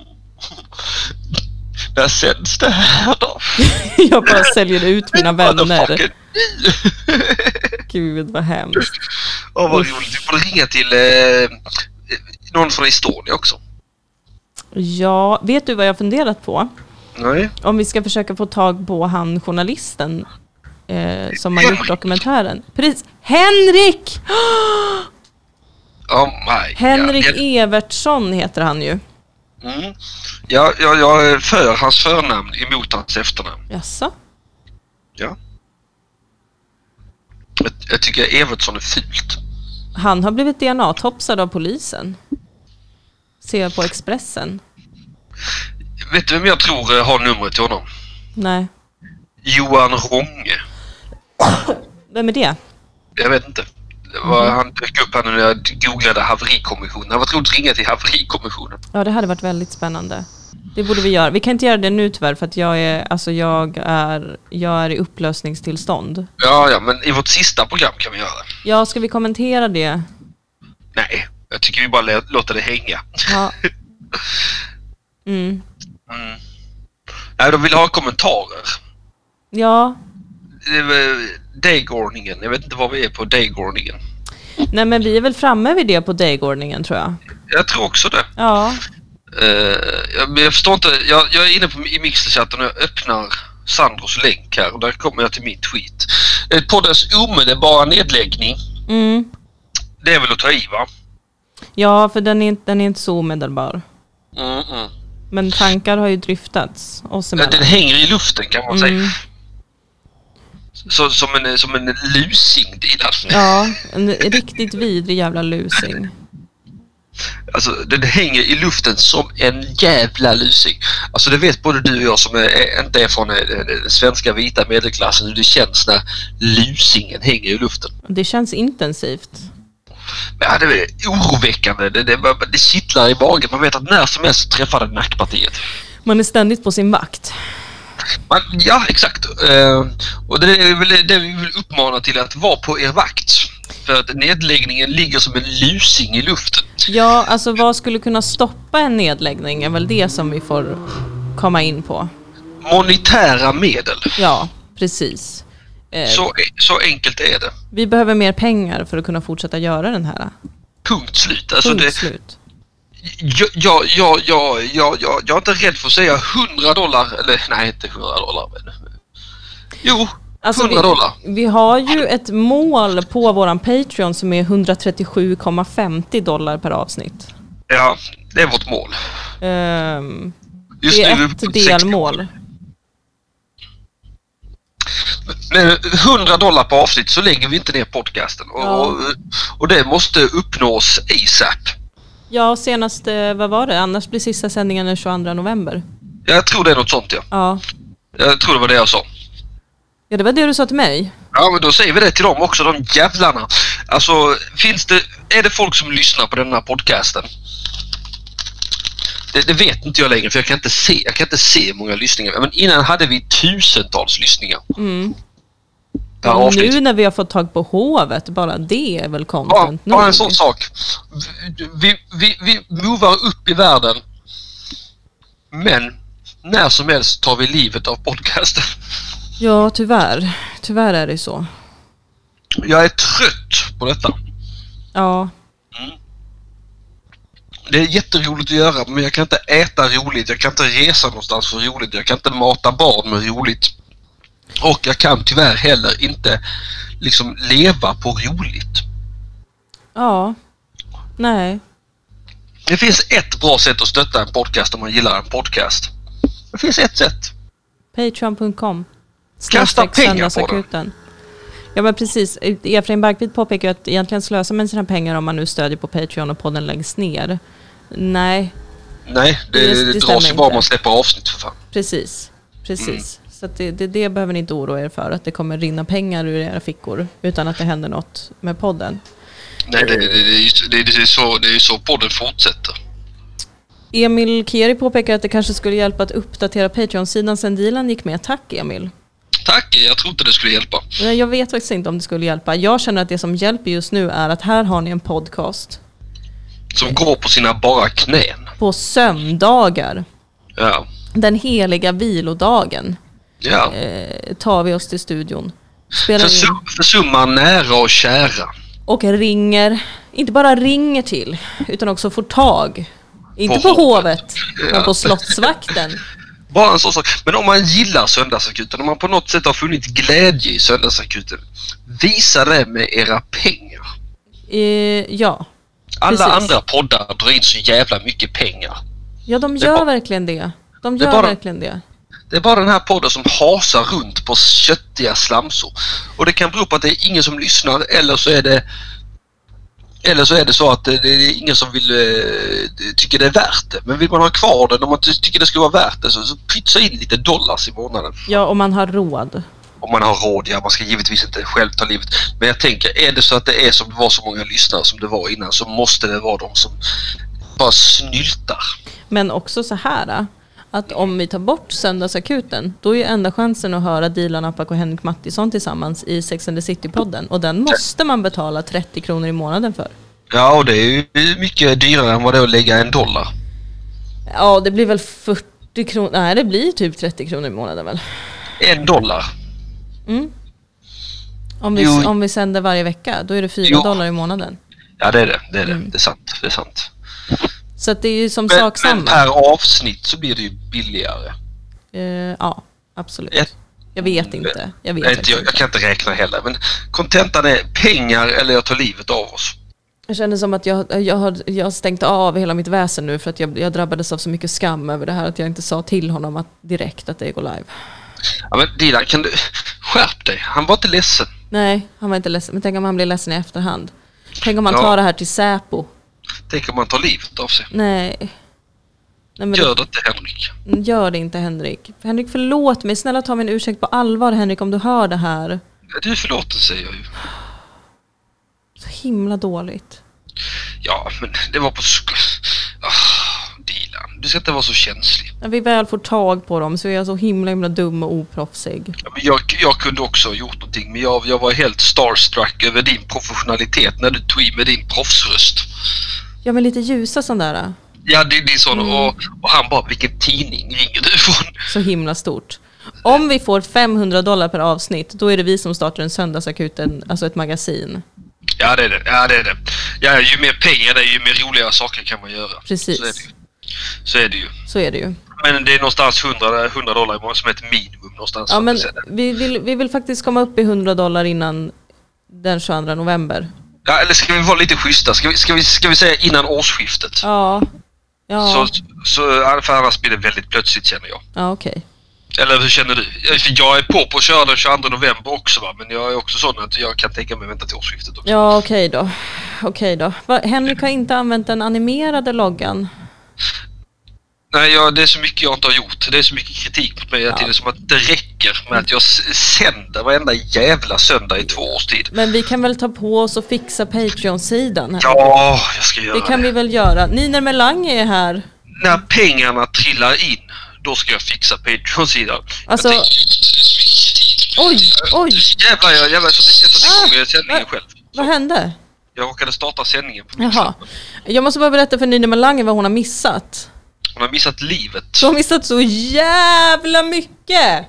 S2: När sänds det här då?
S1: Jag bara säljer ut mina vänner.
S2: Motherfucker.
S1: Gud vad hemskt.
S2: Åh vad roligt. Vi får ringa till eh, någon från Estonia också.
S1: Ja, vet du vad jag funderat på?
S2: Nej.
S1: Om vi ska försöka få tag på han journalisten eh, som har gjort dokumentären. Precis. Henrik!
S2: Oh my
S1: Henrik
S2: God.
S1: Evertsson heter han ju.
S2: Mm. Ja, ja, jag är för hans förnamn emot hans efternamn.
S1: Jaså?
S2: Ja. Jag, jag tycker Evertsson är fult.
S1: Han har blivit DNA-topsad av polisen. Ser jag på Expressen.
S2: Vet du vem jag tror eh, har numret till honom?
S1: Nej.
S2: Johan Ronge.
S1: Vem är det?
S2: Jag vet inte. Det var, Han dök upp här nu när jag googlade haverikommissionen. Det var roligt att ringa till haverikommissionen.
S1: Ja, det hade varit väldigt spännande. Det borde vi göra. Vi kan inte göra det nu tyvärr för att jag är, alltså jag är, jag är i upplösningstillstånd.
S2: Ja, ja, men i vårt sista program kan vi göra det.
S1: Ja, ska vi kommentera det?
S2: Nej, jag tycker vi bara lä- låter det hänga.
S1: Ja. Mm.
S2: Mm. Nej, de vill ha kommentarer.
S1: Ja,
S2: Det är väl Dagordningen. Jag vet inte var vi är på dagordningen.
S1: nej men vi är väl framme vid det på dagordningen tror jag.
S2: Jag tror också det.
S1: Ja,
S2: Eh, jag- men jag förstår inte. Jag, jag är inne på, i Mixerchatten och jag öppnar Sandros länk här och där kommer jag till min tweet. Eh, Poddens omedelbara nedläggning.
S1: mm.
S2: Det är väl att ta i va?
S1: ja för den är, inte- den är inte så omedelbar.
S2: Mm-mm.
S1: Men tankar har ju dryftats oss
S2: Ja,
S1: emellan.
S2: Eh, Den hänger i luften kan man
S1: Mm.
S2: säga. Så, som, en, eh, som en lusing Dilan.
S1: Ja, en riktigt vidrig jävla lusing.
S2: Alltså den hänger i luften som en jävla lusing. Alltså det vet både du och jag som är, är, inte är från eh, den svenska vita medelklassen hur det känns när lusingen hänger i luften.
S1: Det känns intensivt.
S2: Ja, det är oroväckande. Det, det, det kittlar i magen. Man vet att när som helst träffar det nackpartiet.
S1: Man är ständigt på sin vakt.
S2: Man, ja, exakt. Eh, och det är väl det vi vill uppmana till att vara på er vakt. För att nedläggningen ligger som en lusing i luften.
S1: Ja, alltså vad skulle kunna stoppa en nedläggning är väl det som vi får komma in på.
S2: Monetära medel.
S1: Ja, precis. Eh,
S2: Så, så enkelt är det.
S1: Vi behöver mer pengar för att kunna fortsätta göra den här.
S2: Punkt slut. Alltså
S1: Punkt
S2: det,
S1: slut.
S2: jag, jag, jag, jag, jag, jag, jag är inte rädd för att säga 100 dollar. Eller nej, inte 100 dollar. Men, jo,
S1: Alltså,
S2: 100 dollar.
S1: vi, vi har ju ett mål på våran Patreon som är 137,50 dollar per avsnitt.
S2: Ja, det är vårt mål.
S1: Ehm,
S2: Just
S1: det
S2: nu
S1: är
S2: vi på
S1: ett
S2: 60.
S1: delmål.
S2: Men 100 dollar per avsnitt så lägger vi inte ner podcasten. Och,
S1: Ja.
S2: och, och det måste uppnås ASAP.
S1: Ja, senast, eh, vad var det? Annars blir sista sändningen den 22 november.
S2: Jag tror det är något sånt ja.
S1: Ja.
S2: Jag tror det var det jag sa.
S1: ja, det var det du sa till mig.
S2: Ja men då säger vi det till dem också, de jävlarna. Alltså finns det, är det folk som lyssnar på den här podcasten? Det, det vet inte jag längre för jag kan inte se, jag kan inte se hur många lyssningar. Men innan hade vi tusentals lyssningar.
S1: Mm.
S2: Per avsnitt.
S1: nu när vi har fått tag på hovet, bara det är väl
S2: Bara,
S1: content
S2: bara en
S1: nog.
S2: sån sak. Vi, vi, vi movar upp i världen. Men när som helst tar vi livet av podcasten.
S1: Ja, tyvärr. Tyvärr är det så.
S2: Jag är trött på detta.
S1: Ja,
S2: Det är jätteroligt att göra men jag kan inte äta roligt, jag kan inte resa någonstans för roligt, jag kan inte mata barn med roligt. Och jag kan tyvärr heller inte liksom leva på roligt.
S1: ja. Nej.
S2: Det finns ett bra sätt att stötta en podcast om man gillar en podcast. Det finns ett sätt.
S1: Patreon.com.
S2: Kasta
S1: Snedstreck
S2: pengar på
S1: söndagsakuten. Ja men precis, Efraim Barkvik påpekar ju att egentligen slösar man sina pengar om man nu stödjer på Patreon och podden längst ner. Nej,
S2: Nej, det,
S1: Det- det
S2: det
S1: stämmer
S2: dras ju bara om
S1: inte.
S2: man släpper avsnitt för fan.
S1: precis. Precis. Så att det, det, det behöver ni inte oroa er för, att det kommer rinna pengar ur era fickor utan att det händer något med podden.
S2: Nej, det, det, det, är ju- det, det, är så, det är ju så podden fortsätter.
S1: Emil Kieri påpekar att det kanske skulle hjälpa att uppdatera Patreon-sidan sen dealen gick med. Tack Emil.
S2: Tack, jag tror inte det skulle hjälpa.
S1: Nej, Jag vet faktiskt inte om det skulle hjälpa. Jag känner att det som hjälper just nu är att här har ni en podcast
S2: Som går på sina bara knän.
S1: på söndagar.
S2: Ja.
S1: Den heliga vilodagen
S2: ja.
S1: eh, tar vi oss till studion. Spelar in
S2: Försum, försumma nära och kära.
S1: och ringer, inte bara ringer till, utan också får tag. Inte på,
S2: På hovet.
S1: hovet, men på
S2: Ja.
S1: slottsvakten.
S2: Bara en sån sak. Men om man gillar Söndagsakuten, om man på något sätt har funnit glädje i Söndagsakuten, visa det med era pengar.
S1: Eh, ja.
S2: Alla
S1: Precis.
S2: andra poddar drar in så jävla mycket pengar.
S1: ja, de
S2: Det är
S1: gör
S2: ba-
S1: verkligen det. De
S2: Det är
S1: gör
S2: bara-
S1: verkligen det.
S2: Det är bara den här podden som hasar runt på köttiga slamsor. Och det kan bero på att det är ingen som lyssnar eller så är det eller så är det så att det det är ingen som vill eh, tycker det är värt det. Men vill man ha kvar den om man ty- tycker det skulle vara värt det så, så pytsa in lite dollars i månaden.
S1: Ja, om man har råd.
S2: Om man har råd, ja man ska givetvis inte själv ta livet. Men jag tänker, är det så att det är som det var så många lyssnare som det var innan så måste det vara de som bara snyltar.
S1: Men också så här att om vi tar bort söndagsakuten då är ju enda chansen att höra Dilan Apak och Henrik Mattisson tillsammans i Sex and the City-podden och den måste man betala 30 kronor i månaden för.
S2: Ja, och det är ju mycket dyrare än vad det är att lägga en dollar.
S1: Ja, det blir väl 40 kronor, nej det blir typ 30 kronor i månaden väl? Mm.
S2: En dollar.
S1: Om vi,
S2: Jo.
S1: om vi sänder varje vecka, då är det 4
S2: Jo.
S1: dollar i månaden.
S2: Ja, det är det. Det är det. Det är sant. Det är sant.
S1: Så att det är ju som
S2: Men,
S1: sak
S2: men
S1: samma.
S2: per avsnitt så blir det ju billigare.
S1: Eh, ja, absolut.
S2: Ett-
S1: Jag vet inte. Jag vet
S2: Jag, inte,
S1: faktiskt
S2: jag, jag
S1: inte.
S2: kan inte räkna heller. Men kontentan är pengar eller jag tar livet av oss.
S1: Jag känner som att jag, jag, har, jag har stängt av hela mitt väsen nu för att jag, jag drabbades av så mycket skam över det här att jag inte sa till honom att, direkt att det går live.
S2: Ja, men Dilan, kan du... Skärp dig. Han var inte ledsen.
S1: Nej, han var inte ledsen. Men tänk om han blir ledsen i efterhand. Tänk om han
S2: Ja.
S1: tar det här till Säpo.
S2: Tänk om man tar livet av sig.
S1: Nej. Nej men
S2: Gör det inte Henrik.
S1: det, gör det inte Henrik. Henrik förlåt mig, snälla ta min ursäkt på allvar Henrik om du hör det här.
S2: Ja, Du är förlåten säger jag ju.
S1: Så himla dåligt.
S2: Ja, men det var på sk... Ah, Dilan, du ska inte vara så känslig.
S1: När vi väl får tag på dem så är jag så himla himla dum och oproffsig.
S2: Ja, men jag, jag kunde också ha gjort någonting men jag, jag var helt starstruck över din professionalitet när du tog i med din proffsröst.
S1: Ja men lite ljusa sån där.
S2: Ja, det, det är
S1: Mm.
S2: sån och, och han bara, vilken tidning ringer du ifrån?
S1: Så himla stort. Om vi får 500 dollar per avsnitt, då är det vi som startar en söndagsakuten, alltså ett magasin.
S2: Ja, det är det. Ja, det, är det. Ja, ju mer pengar det är, ju mer roliga saker kan man göra.
S1: Precis.
S2: Så är det ju. Så är det ju.
S1: Så är det ju.
S2: Men det är någonstans 100, 100 dollar i månaden som är ett minimum någonstans.
S1: Ja,
S2: för
S1: men
S2: att det-
S1: vi, vill, vi vill faktiskt komma upp i 100 dollar innan den 22 november.
S2: ja, eller ska vi vara lite schyssta? Ska vi, ska vi, ska vi säga innan årsskiftet?
S1: Ja, ja,
S2: Så, så, ja, för annars blir det väldigt plötsligt känner jag.
S1: ja okej.
S2: Eller hur känner du? Ja, för Jag är på på att köra den 22 november också va? men jag är också sån att jag kan tänka mig att vänta till årsskiftet också.
S1: Ja, okej då. Okej då. Va, Henrik har inte använt den animerade loggan.
S2: Nej, jag, det är så mycket jag inte har gjort. Det är så mycket kritik mot mig hela tiden som att det räcker med att jag s- sänder varenda jävla söndag i två års tid.
S1: Men vi kan väl ta på oss och fixa Patreon-sidan? här?
S2: Ja, jag ska göra
S1: Det
S2: det.
S1: kan vi väl göra. Niner Melang är här.
S2: När pengarna trillar in, då ska jag fixa Patreon-sidan.
S1: Alltså-
S2: Jag tänker-
S1: Oj, oj,
S2: Jävlar, jag jävlar, så fick jag sätta igång sändningen
S1: Ah.
S2: själv.
S1: vad hände?
S2: Jag råkade starta sändningen på
S1: Jaha. Jag måste bara berätta för Nina Melange vad hon har missat.
S2: Hon har missat livet.
S1: Hon har missat så jävla mycket!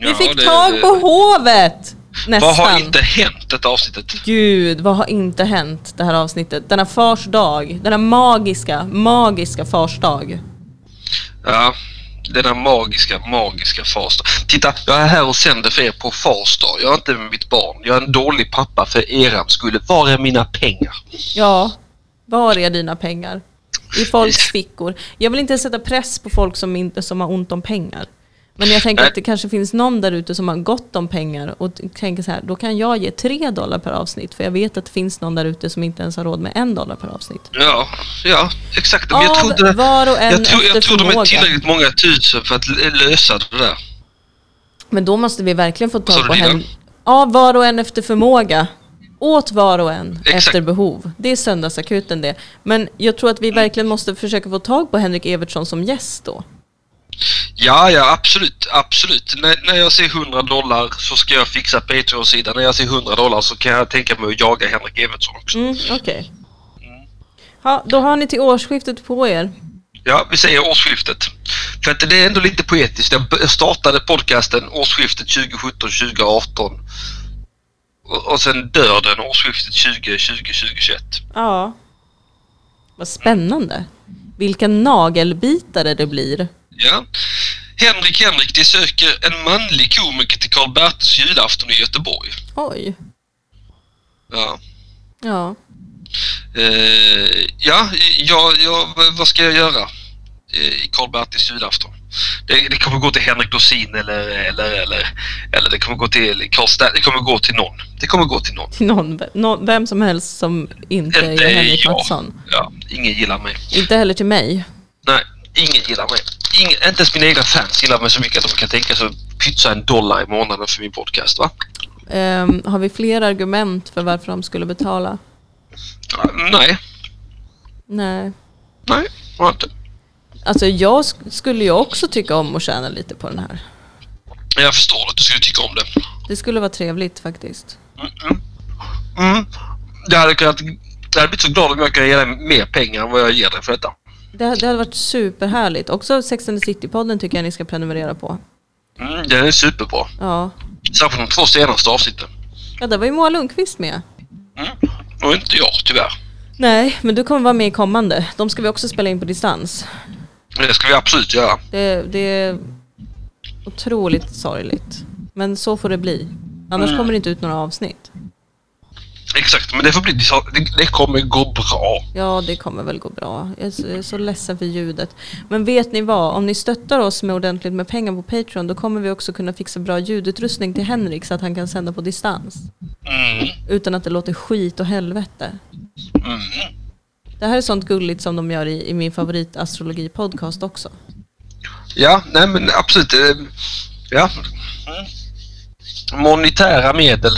S1: Vi
S2: Ja,
S1: fick
S2: det-
S1: tag
S2: det-
S1: på hovet! Nästan.
S2: Vad har inte hänt detta avsnittet?
S1: Gud, vad har inte hänt det här avsnittet? Denna fars dag, denna magiska, magiska fars dag.
S2: Ja, denna magiska, magiska Farsta. Titta, jag är här och sänder för er på Farsta. Jag är inte med mitt barn. Jag är en dålig pappa för er skull. Var är mina pengar?
S1: Ja, var är dina pengar? I folks fickor. Jag vill inte sätta press på folk som, inte, som har ont om pengar. Men jag tänker
S2: Nej.
S1: att det kanske finns någon där ute som har gott om pengar och t- tänker så här, då kan jag ge tre dollar per avsnitt för jag vet att det finns någon där ute som inte ens har råd med en dollar per avsnitt.
S2: Ja, ja, exakt. Men jag
S1: Av
S2: trodde...
S1: var och en
S2: Jag tror,
S1: efter
S2: jag tror de är
S1: förmåga.
S2: tillräckligt många tusen för att l- lösa det där.
S1: Men då måste vi verkligen få
S2: Vad
S1: tag
S2: sa
S1: på
S2: du, Lina?
S1: hem... Ja, var och en efter förmåga. Åt var och en
S2: Exakt.
S1: efter behov. Det är söndagsakuten det. Men jag tror att vi verkligen måste försöka få tag på Henrik Evertsson som gäst då.
S2: Ja, ja absolut, absolut. När, när jag ser 100 dollar så ska jag fixa Patreon-sidan. När jag ser 100 dollar så kan jag tänka mig att jaga Henrik Evertsson också.
S1: Mm, Okej. Ja, då har ni till årsskiftet på er.
S2: Ja, vi säger årsskiftet. För att det är ändå lite poetiskt. Jag b- Jag startade podcasten årsskiftet 2017-2018 och och sen dör den årsskiftet 2020-2021.
S1: Ja. Vad spännande. Vilka nagelbitare det blir.
S2: Ja. Henrik Henrik, de söker en manlig komiker till Karl Bertils julafton i Göteborg.
S1: Oj.
S2: Ja.
S1: Ja.
S2: Eh, ja, ja, ja, v- vad ska jag göra Eh, i Karl-Bertils julafton? Det, det kommer gå till Henrik Dorsin eller, eller, eller, eller det kommer gå till Karl Sta- Det kommer gå till någon. Det kommer gå till någon.
S1: Till någon, någon, vem som helst som inte
S2: Inte
S1: är Henrik
S2: jag.
S1: Mattsson.
S2: Ja, ingen gillar mig.
S1: Inte heller till mig.
S2: Nej, ingen gillar mig. Ingen, inte ens mina egna fans gillar mig så mycket att de kan tänka sig att pytsa en dollar i månaden för min podcast, va?
S1: Ehm, har vi fler argument för varför de skulle betala?
S2: Ja, Nej,
S1: Nej.
S2: nej, har jag inte.
S1: Alltså jag sk- skulle ju också tycka om att tjäna lite på den här.
S2: Jag förstår att du skulle tycka om det.
S1: Det skulle vara trevligt faktiskt.
S2: Mm. Jag hade kunnat... Jag hade blivit så glad om jag kunde ge dig mer pengar än vad jag ger dig för detta.
S1: Det, det hade varit superhärligt. Också Sex and the City-podden tycker jag ni ska prenumerera på.
S2: Mm, den är superbra.
S1: Ja.
S2: Särskilt de två senaste avsnitten.
S1: Ja, där var ju Moa Lundqvist med.
S2: Mm. Och inte jag, tyvärr.
S1: Nej, men du kommer vara med i kommande. De ska vi också spela in på distans.
S2: Men det ska vi absolut göra.
S1: Det, det är otroligt sorgligt. Men så får det bli. Annars kommer det inte ut några avsnitt.
S2: Exakt, men det får bli... Det, det kommer gå bra.
S1: Ja, det kommer väl gå bra. Jag är så, jag är så ledsen för ljudet. Men vet ni vad? Om ni stöttar oss med ordentligt med pengar på Patreon då kommer vi också kunna fixa bra ljudutrustning till Henrik så att han kan sända på distans.
S2: Mm.
S1: Utan att det låter skit och helvete.
S2: Mm.
S1: Det här är sånt gulligt som de gör i, i min favoritastrologi-podcast också.
S2: Ja, nej men absolut. eh, Ja. Mm. Monetära medel.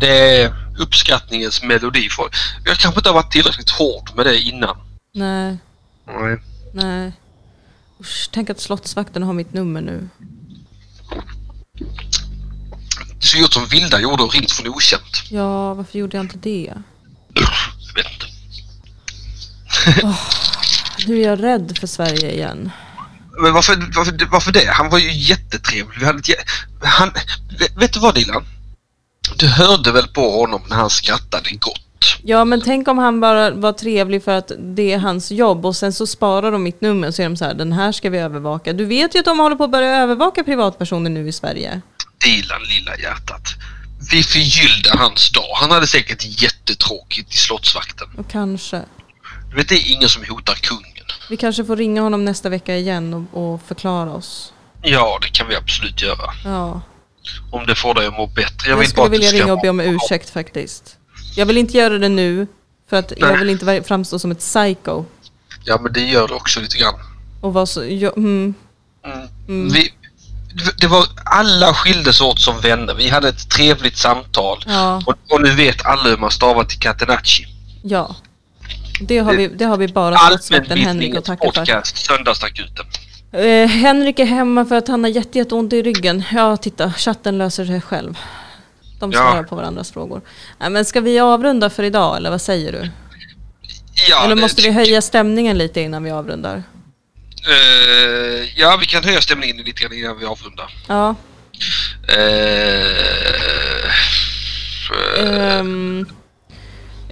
S2: Det är uppskattningens melodi. För. Jag kanske inte har varit tillräckligt hård med det innan.
S1: Nej,
S2: Nej.
S1: nej. Usch, tänk att slottsvakten har mitt nummer nu.
S2: Så gjort som vilda gjorde och ringt från okänt.
S1: Ja, varför gjorde jag inte det?
S2: Jag vet inte.
S1: Nu är jag rädd för Sverige igen.
S2: Men varför, varför, varför det? Han var ju jättetrevlig. Vi hade ett, jä- han, vet, vet du vad Dilan? Du hörde väl på honom när han skrattade gott?
S1: Ja, men tänk om han bara var trevlig för att det är hans jobb och sen så sparar de mitt nummer och så är de så här, den här ska vi övervaka. Du vet ju att de håller på att börja övervaka privatpersoner nu i Sverige.
S2: Dilan, lilla hjärtat. Vi förgyllde hans dag. Han hade säkert jättetråkigt i slottsvakten.
S1: Och kanske.
S2: Du vet, det är ingen som hotar kungen.
S1: Vi kanske får ringa honom nästa vecka igen och, och förklara oss.
S2: Ja, det kan vi absolut göra.
S1: Ja.
S2: Om det får dig att må bättre. Jag,
S1: Jag,
S2: vill
S1: skulle
S2: bara att du
S1: vilja
S2: ska
S1: ringa och be om
S2: vara-
S1: ursäkt faktiskt. Jag vill inte göra det nu för att jag vill inte vara- framstå som ett psycho.
S2: Ja, men det gör det också lite grann.
S1: Och vara så, ja, mm,
S2: Mm. Vi, det var alla skildes åt som vänner. Vi hade ett trevligt samtal.
S1: Ja.
S2: Och, och nu vet alla hur man stavar till Catenacci.
S1: ja. Det har vi, det har vi bara slottsvakten Henrik att
S2: Allmänbildningens
S1: tacka för.
S2: podcast, Söndagsakuten.
S1: Eh, Henrik är hemma för att han har jätte, jätteont i ryggen. Ja, titta, chatten löser sig själv. De
S2: Ja.
S1: svarar på varandras frågor. Nej, men ska vi avrunda för idag, eller vad säger du?
S2: Ja,
S1: eller
S2: det-
S1: måste vi höja stämningen lite innan vi avrundar?
S2: Eh, ja, vi kan höja stämningen lite grann innan vi avrundar.
S1: Ja.
S2: Eh,
S1: ehm,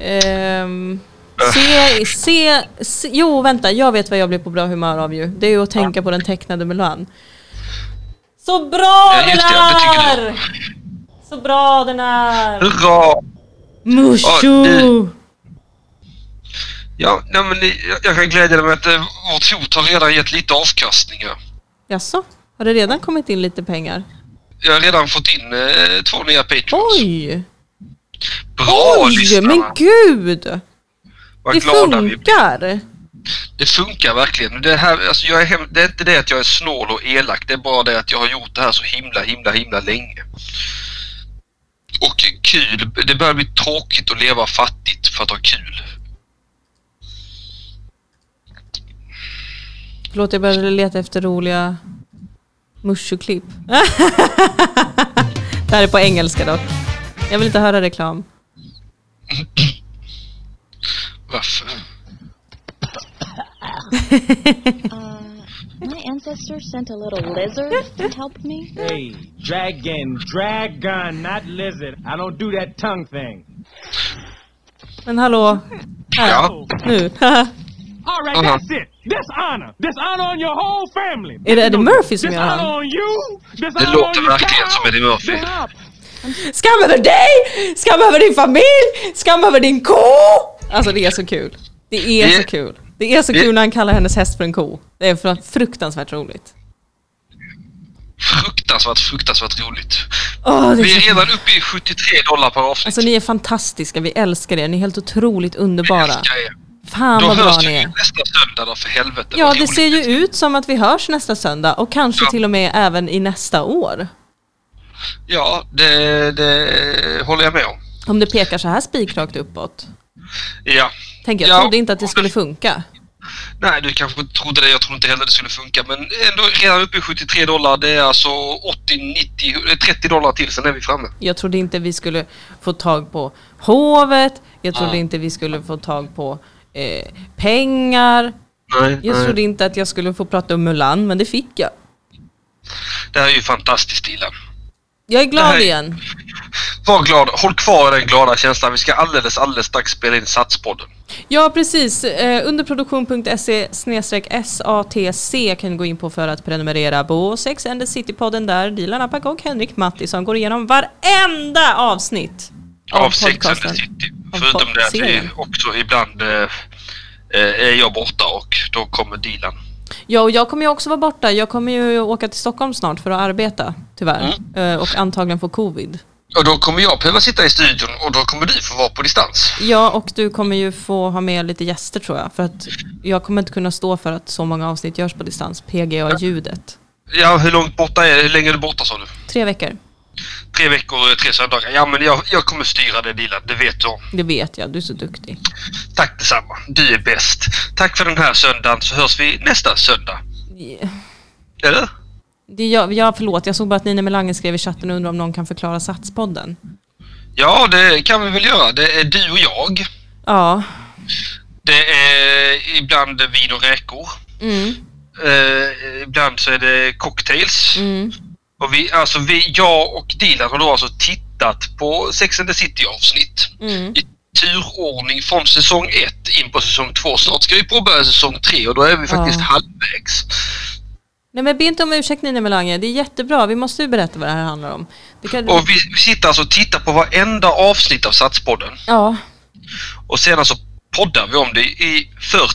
S1: ehm, se, se, se, jo, vänta, jag vet vad jag blir på bra humör av ju. Det är ju att tänka på den tecknade Mulan. Så bra
S2: Ja,
S1: den
S2: just det, det tycker du.
S1: är! Så bra den är!
S2: hurra!
S1: Mushu!
S2: Ja, nej, men det- jag, jag kan glädja dig med att eh, vårt hot har redan gett lite avkastningar.
S1: Jaså, har det redan kommit in lite pengar?
S2: Jag har redan fått in eh, två nya Patreons.
S1: Oj!
S2: Bra
S1: Oj,
S2: lyssnarna!
S1: men gud!
S2: Vad
S1: Det
S2: glada vi blir.
S1: funkar!
S2: Det funkar verkligen. Det, här, alltså jag är, hem- det är inte det att jag är snål och elak. Det är bara det att jag har gjort det här så himla, himla, himla länge. Och kul. Det börjar bli tråkigt att leva fattigt för att ha kul.
S1: Förlåt, jag började leta efter roliga mushuklipp. det här är på engelska dock. Jag vill inte höra reklam.
S2: Varför?
S9: My ancestor sent a little lizard that helped me.
S10: Hey, dragon, dragon, not lizard. I don't do that tongue thing.
S1: Men hallå,
S2: Ja.
S1: nu.
S10: All right,
S2: Uh-huh.
S10: that's it. Dishonor. Dishonor on your whole family.
S1: Är det Eddie Murphy som gör
S10: Dishonor
S1: han?
S10: on you.
S2: Det
S10: Dishonor on
S2: låter
S10: your
S2: verkligen som
S10: child.
S2: Eddie Murphy.
S10: Dishonor.
S1: skam över dig! Skam över din familj! Skam över din ko! Alltså det är så kul. Det är
S2: Det-
S1: så kul. Det är så
S2: det-
S1: kul när han kallar hennes häst för en ko. Det är fr- fruktansvärt roligt.
S2: Fruktansvärt, fruktansvärt roligt.
S1: Åh, det är
S2: Vi är
S1: så...
S2: redan uppe i 73 dollar per avsnitt.
S1: Alltså ni är fantastiska, vi älskar er. Ni är helt otroligt
S2: Jag
S1: underbara.
S2: älskar er.
S1: Fan
S2: Då
S1: vad bra
S2: hörs
S1: ni
S2: vi
S1: är.
S2: nästa söndag då, för helvete.
S1: Ja,
S2: Vad
S1: det
S2: roligt.
S1: ser ju ut som att vi hörs nästa söndag och kanske
S2: Ja.
S1: till och med även i nästa år.
S2: Ja, det, det håller jag med om.
S1: Om det pekar så här spikrakt uppåt.
S2: Ja.
S1: Tänk, jag
S2: Ja,
S1: trodde inte att det
S2: och-
S1: skulle funka.
S2: Nej, du kanske inte trodde det. Jag trodde inte heller det skulle funka. Men ändå redan uppe i 73 dollar. Det är alltså 80, 90, eh, 30 dollar till. Sen är vi framme.
S1: Jag trodde inte vi skulle få tag på hovet. Jag trodde inte vi skulle få tag på eh, pengar.
S2: Nej,
S1: Jag trodde inte att jag skulle få prata om Mulan, men det fick jag.
S2: Det här är ju fantastiskt Dilan.
S1: Jag är glad
S2: här-
S1: igen.
S2: Var glad. Håll kvar i den glada känslan. Vi ska alldeles, alldeles strax spela in Satspodden.
S1: Ja, precis. Eh, underproduktion.se SATC kan du gå in på för att prenumerera på Sex and the City-podden där Dilan Apak och Henrik Mattisson går igenom varenda avsnitt
S2: Av Sex and the
S1: podcasten.
S2: City.
S1: Av
S2: Förutom det att vi
S1: serien.
S2: också ibland eh, eh, är jag borta och då kommer Dilan.
S1: Ja, och jag kommer ju också vara borta. Jag kommer ju åka till Stockholm snart för att arbeta, tyvärr.
S2: Mm.
S1: Eh, och antagligen få covid.
S2: Och då kommer jag behöva sitta i studion och då kommer du få vara på distans.
S1: Ja, och du kommer ju få ha med lite gäster tror jag. För att jag kommer inte kunna stå för att så många avsnitt görs på distans. PGA-ljudet.
S2: Ja, hur långt borta är Hur länge är du borta sa du?
S1: Tre veckor,
S2: Tre veckor, eh, tre söndagar. Ja, men jag, jag kommer styra det Dilan. Det vet du om.
S1: det vet jag. Du är så duktig.
S2: Tack detsamma. Du är bäst. Tack för den här söndagen så hörs vi nästa söndag. Eller?
S1: Det jag, jag, förlåt, jag såg bara att Nina Melander skrev i chatten och undrar om någon kan förklara Satspodden.
S2: Ja, det kan vi väl göra. Det är du och jag.
S1: Ja,
S2: Det är ibland vin och räkor.
S1: mm,
S2: Eh, ibland så är det cocktails.
S1: mm.
S2: Och vi, alltså vi, jag och Dilan har då alltså tittat på Sex and the City avsnitt.
S1: Mm.
S2: I turordning från säsong 1 in på säsong 2. Snart ska vi påbörja säsong 3 och då är vi faktiskt
S1: Ja.
S2: halvvägs.
S1: Nej men be inte om ursäkt Nina Melander, det är jättebra. Vi måste ju berätta vad det här handlar om. Det kan,
S2: Och vi, vi sitter alltså och tittar på varenda avsnitt av Satspodden.
S1: Ja,
S2: Och sedan så poddar vi om det i 40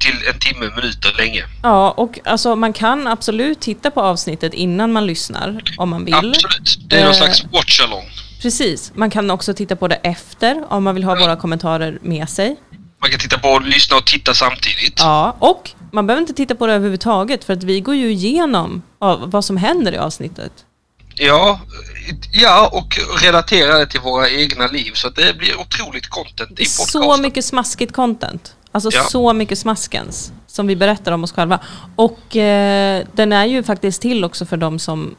S2: till en timme minuter länge.
S1: ja, och alltså, man kan absolut titta på avsnittet innan man lyssnar om man vill.
S2: Absolut. Det är någon
S1: Eh.
S2: slags watch-along.
S1: Precis, man kan också titta på det efter om man vill ha våra kommentarer med sig.
S2: Man kan titta på, och lyssna och titta samtidigt.
S1: Ja, och man behöver inte titta på det överhuvudtaget för att vi går ju igenom av vad som händer i avsnittet.
S2: Ja, ja, och relatera det till våra egna liv så att det blir otroligt content i podcasten.
S1: Så mycket smaskigt content. Alltså
S2: Ja.
S1: så mycket smaskens som vi berättar om oss själva. Och eh, den är ju faktiskt till också för de som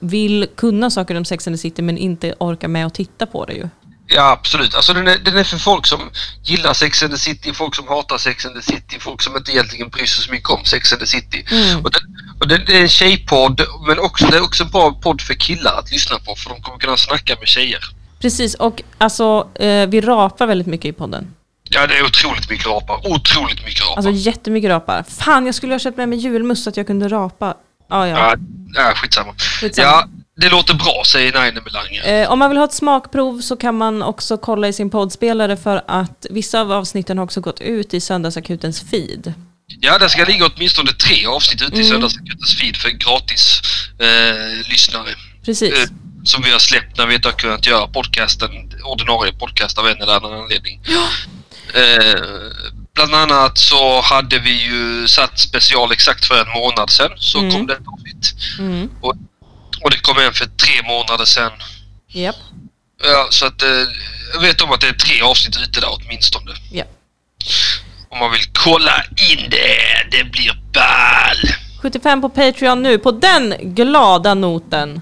S1: vill kunna saker om Sex and the City men inte orkar med att titta på det ju.
S2: Ja, absolut. Alltså den är, den är för folk som gillar Sex and the City, folk som hatar Sex and the City, folk som inte egentligen bryr sig så mycket om Sex and the City.
S1: Mm.
S2: Och den, och den, det är en tjejpodd, men också, det är också en bra podd för killar att lyssna på för de kommer kunna snacka med tjejer.
S1: Precis, och alltså eh, vi rapar väldigt mycket i podden.
S2: Ja, det är otroligt mycket rapar. Otroligt mycket rapar.
S1: Alltså jättemycket rapar. Fan, jag skulle ha köpt med mig julmust så att jag kunde rapa. Ah, ja.
S2: ja, ja, skitsamma.
S1: Skitsamma.
S2: Ja, det låter bra, säger Naine Melange.
S1: Eh, om man vill ha ett smakprov så kan man också kolla i sin poddspelare för att vissa av avsnitten har också gått ut i Söndagsakutens feed.
S2: Ja, där ska ligga åtminstone tre avsnitt ute
S1: Mm.
S2: i Söndagsakutens feed för gratis eh, lyssnare.
S1: Precis.
S2: eh, som vi har släppt när vi inte har kunnat göra podcasten, ordinarie podcast av en eller annan anledning. Eh, Bland annat så hade vi ju satt special exakt för en månad sedan så
S1: Mm.
S2: kom det ett avsnitt.
S1: Mm.
S2: Och, och det kom en för tre månader sedan.
S1: Japp.
S2: Ja, så att eh, jag vet om att det är tre avsnitt ute där åtminstone.
S1: Ja.
S2: Om man vill kolla in det, det blir ball!
S1: 75 på Patreon nu, på den glada noten.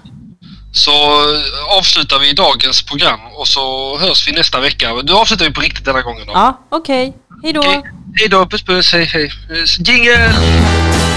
S2: Så eh, avslutar vi dagens program och så hörs vi nästa vecka. Nu avslutar vi på riktigt denna gången då.
S1: Ja, okej. Hej då.
S2: Hej då, puss puss, hej hej. Eh, Jingle!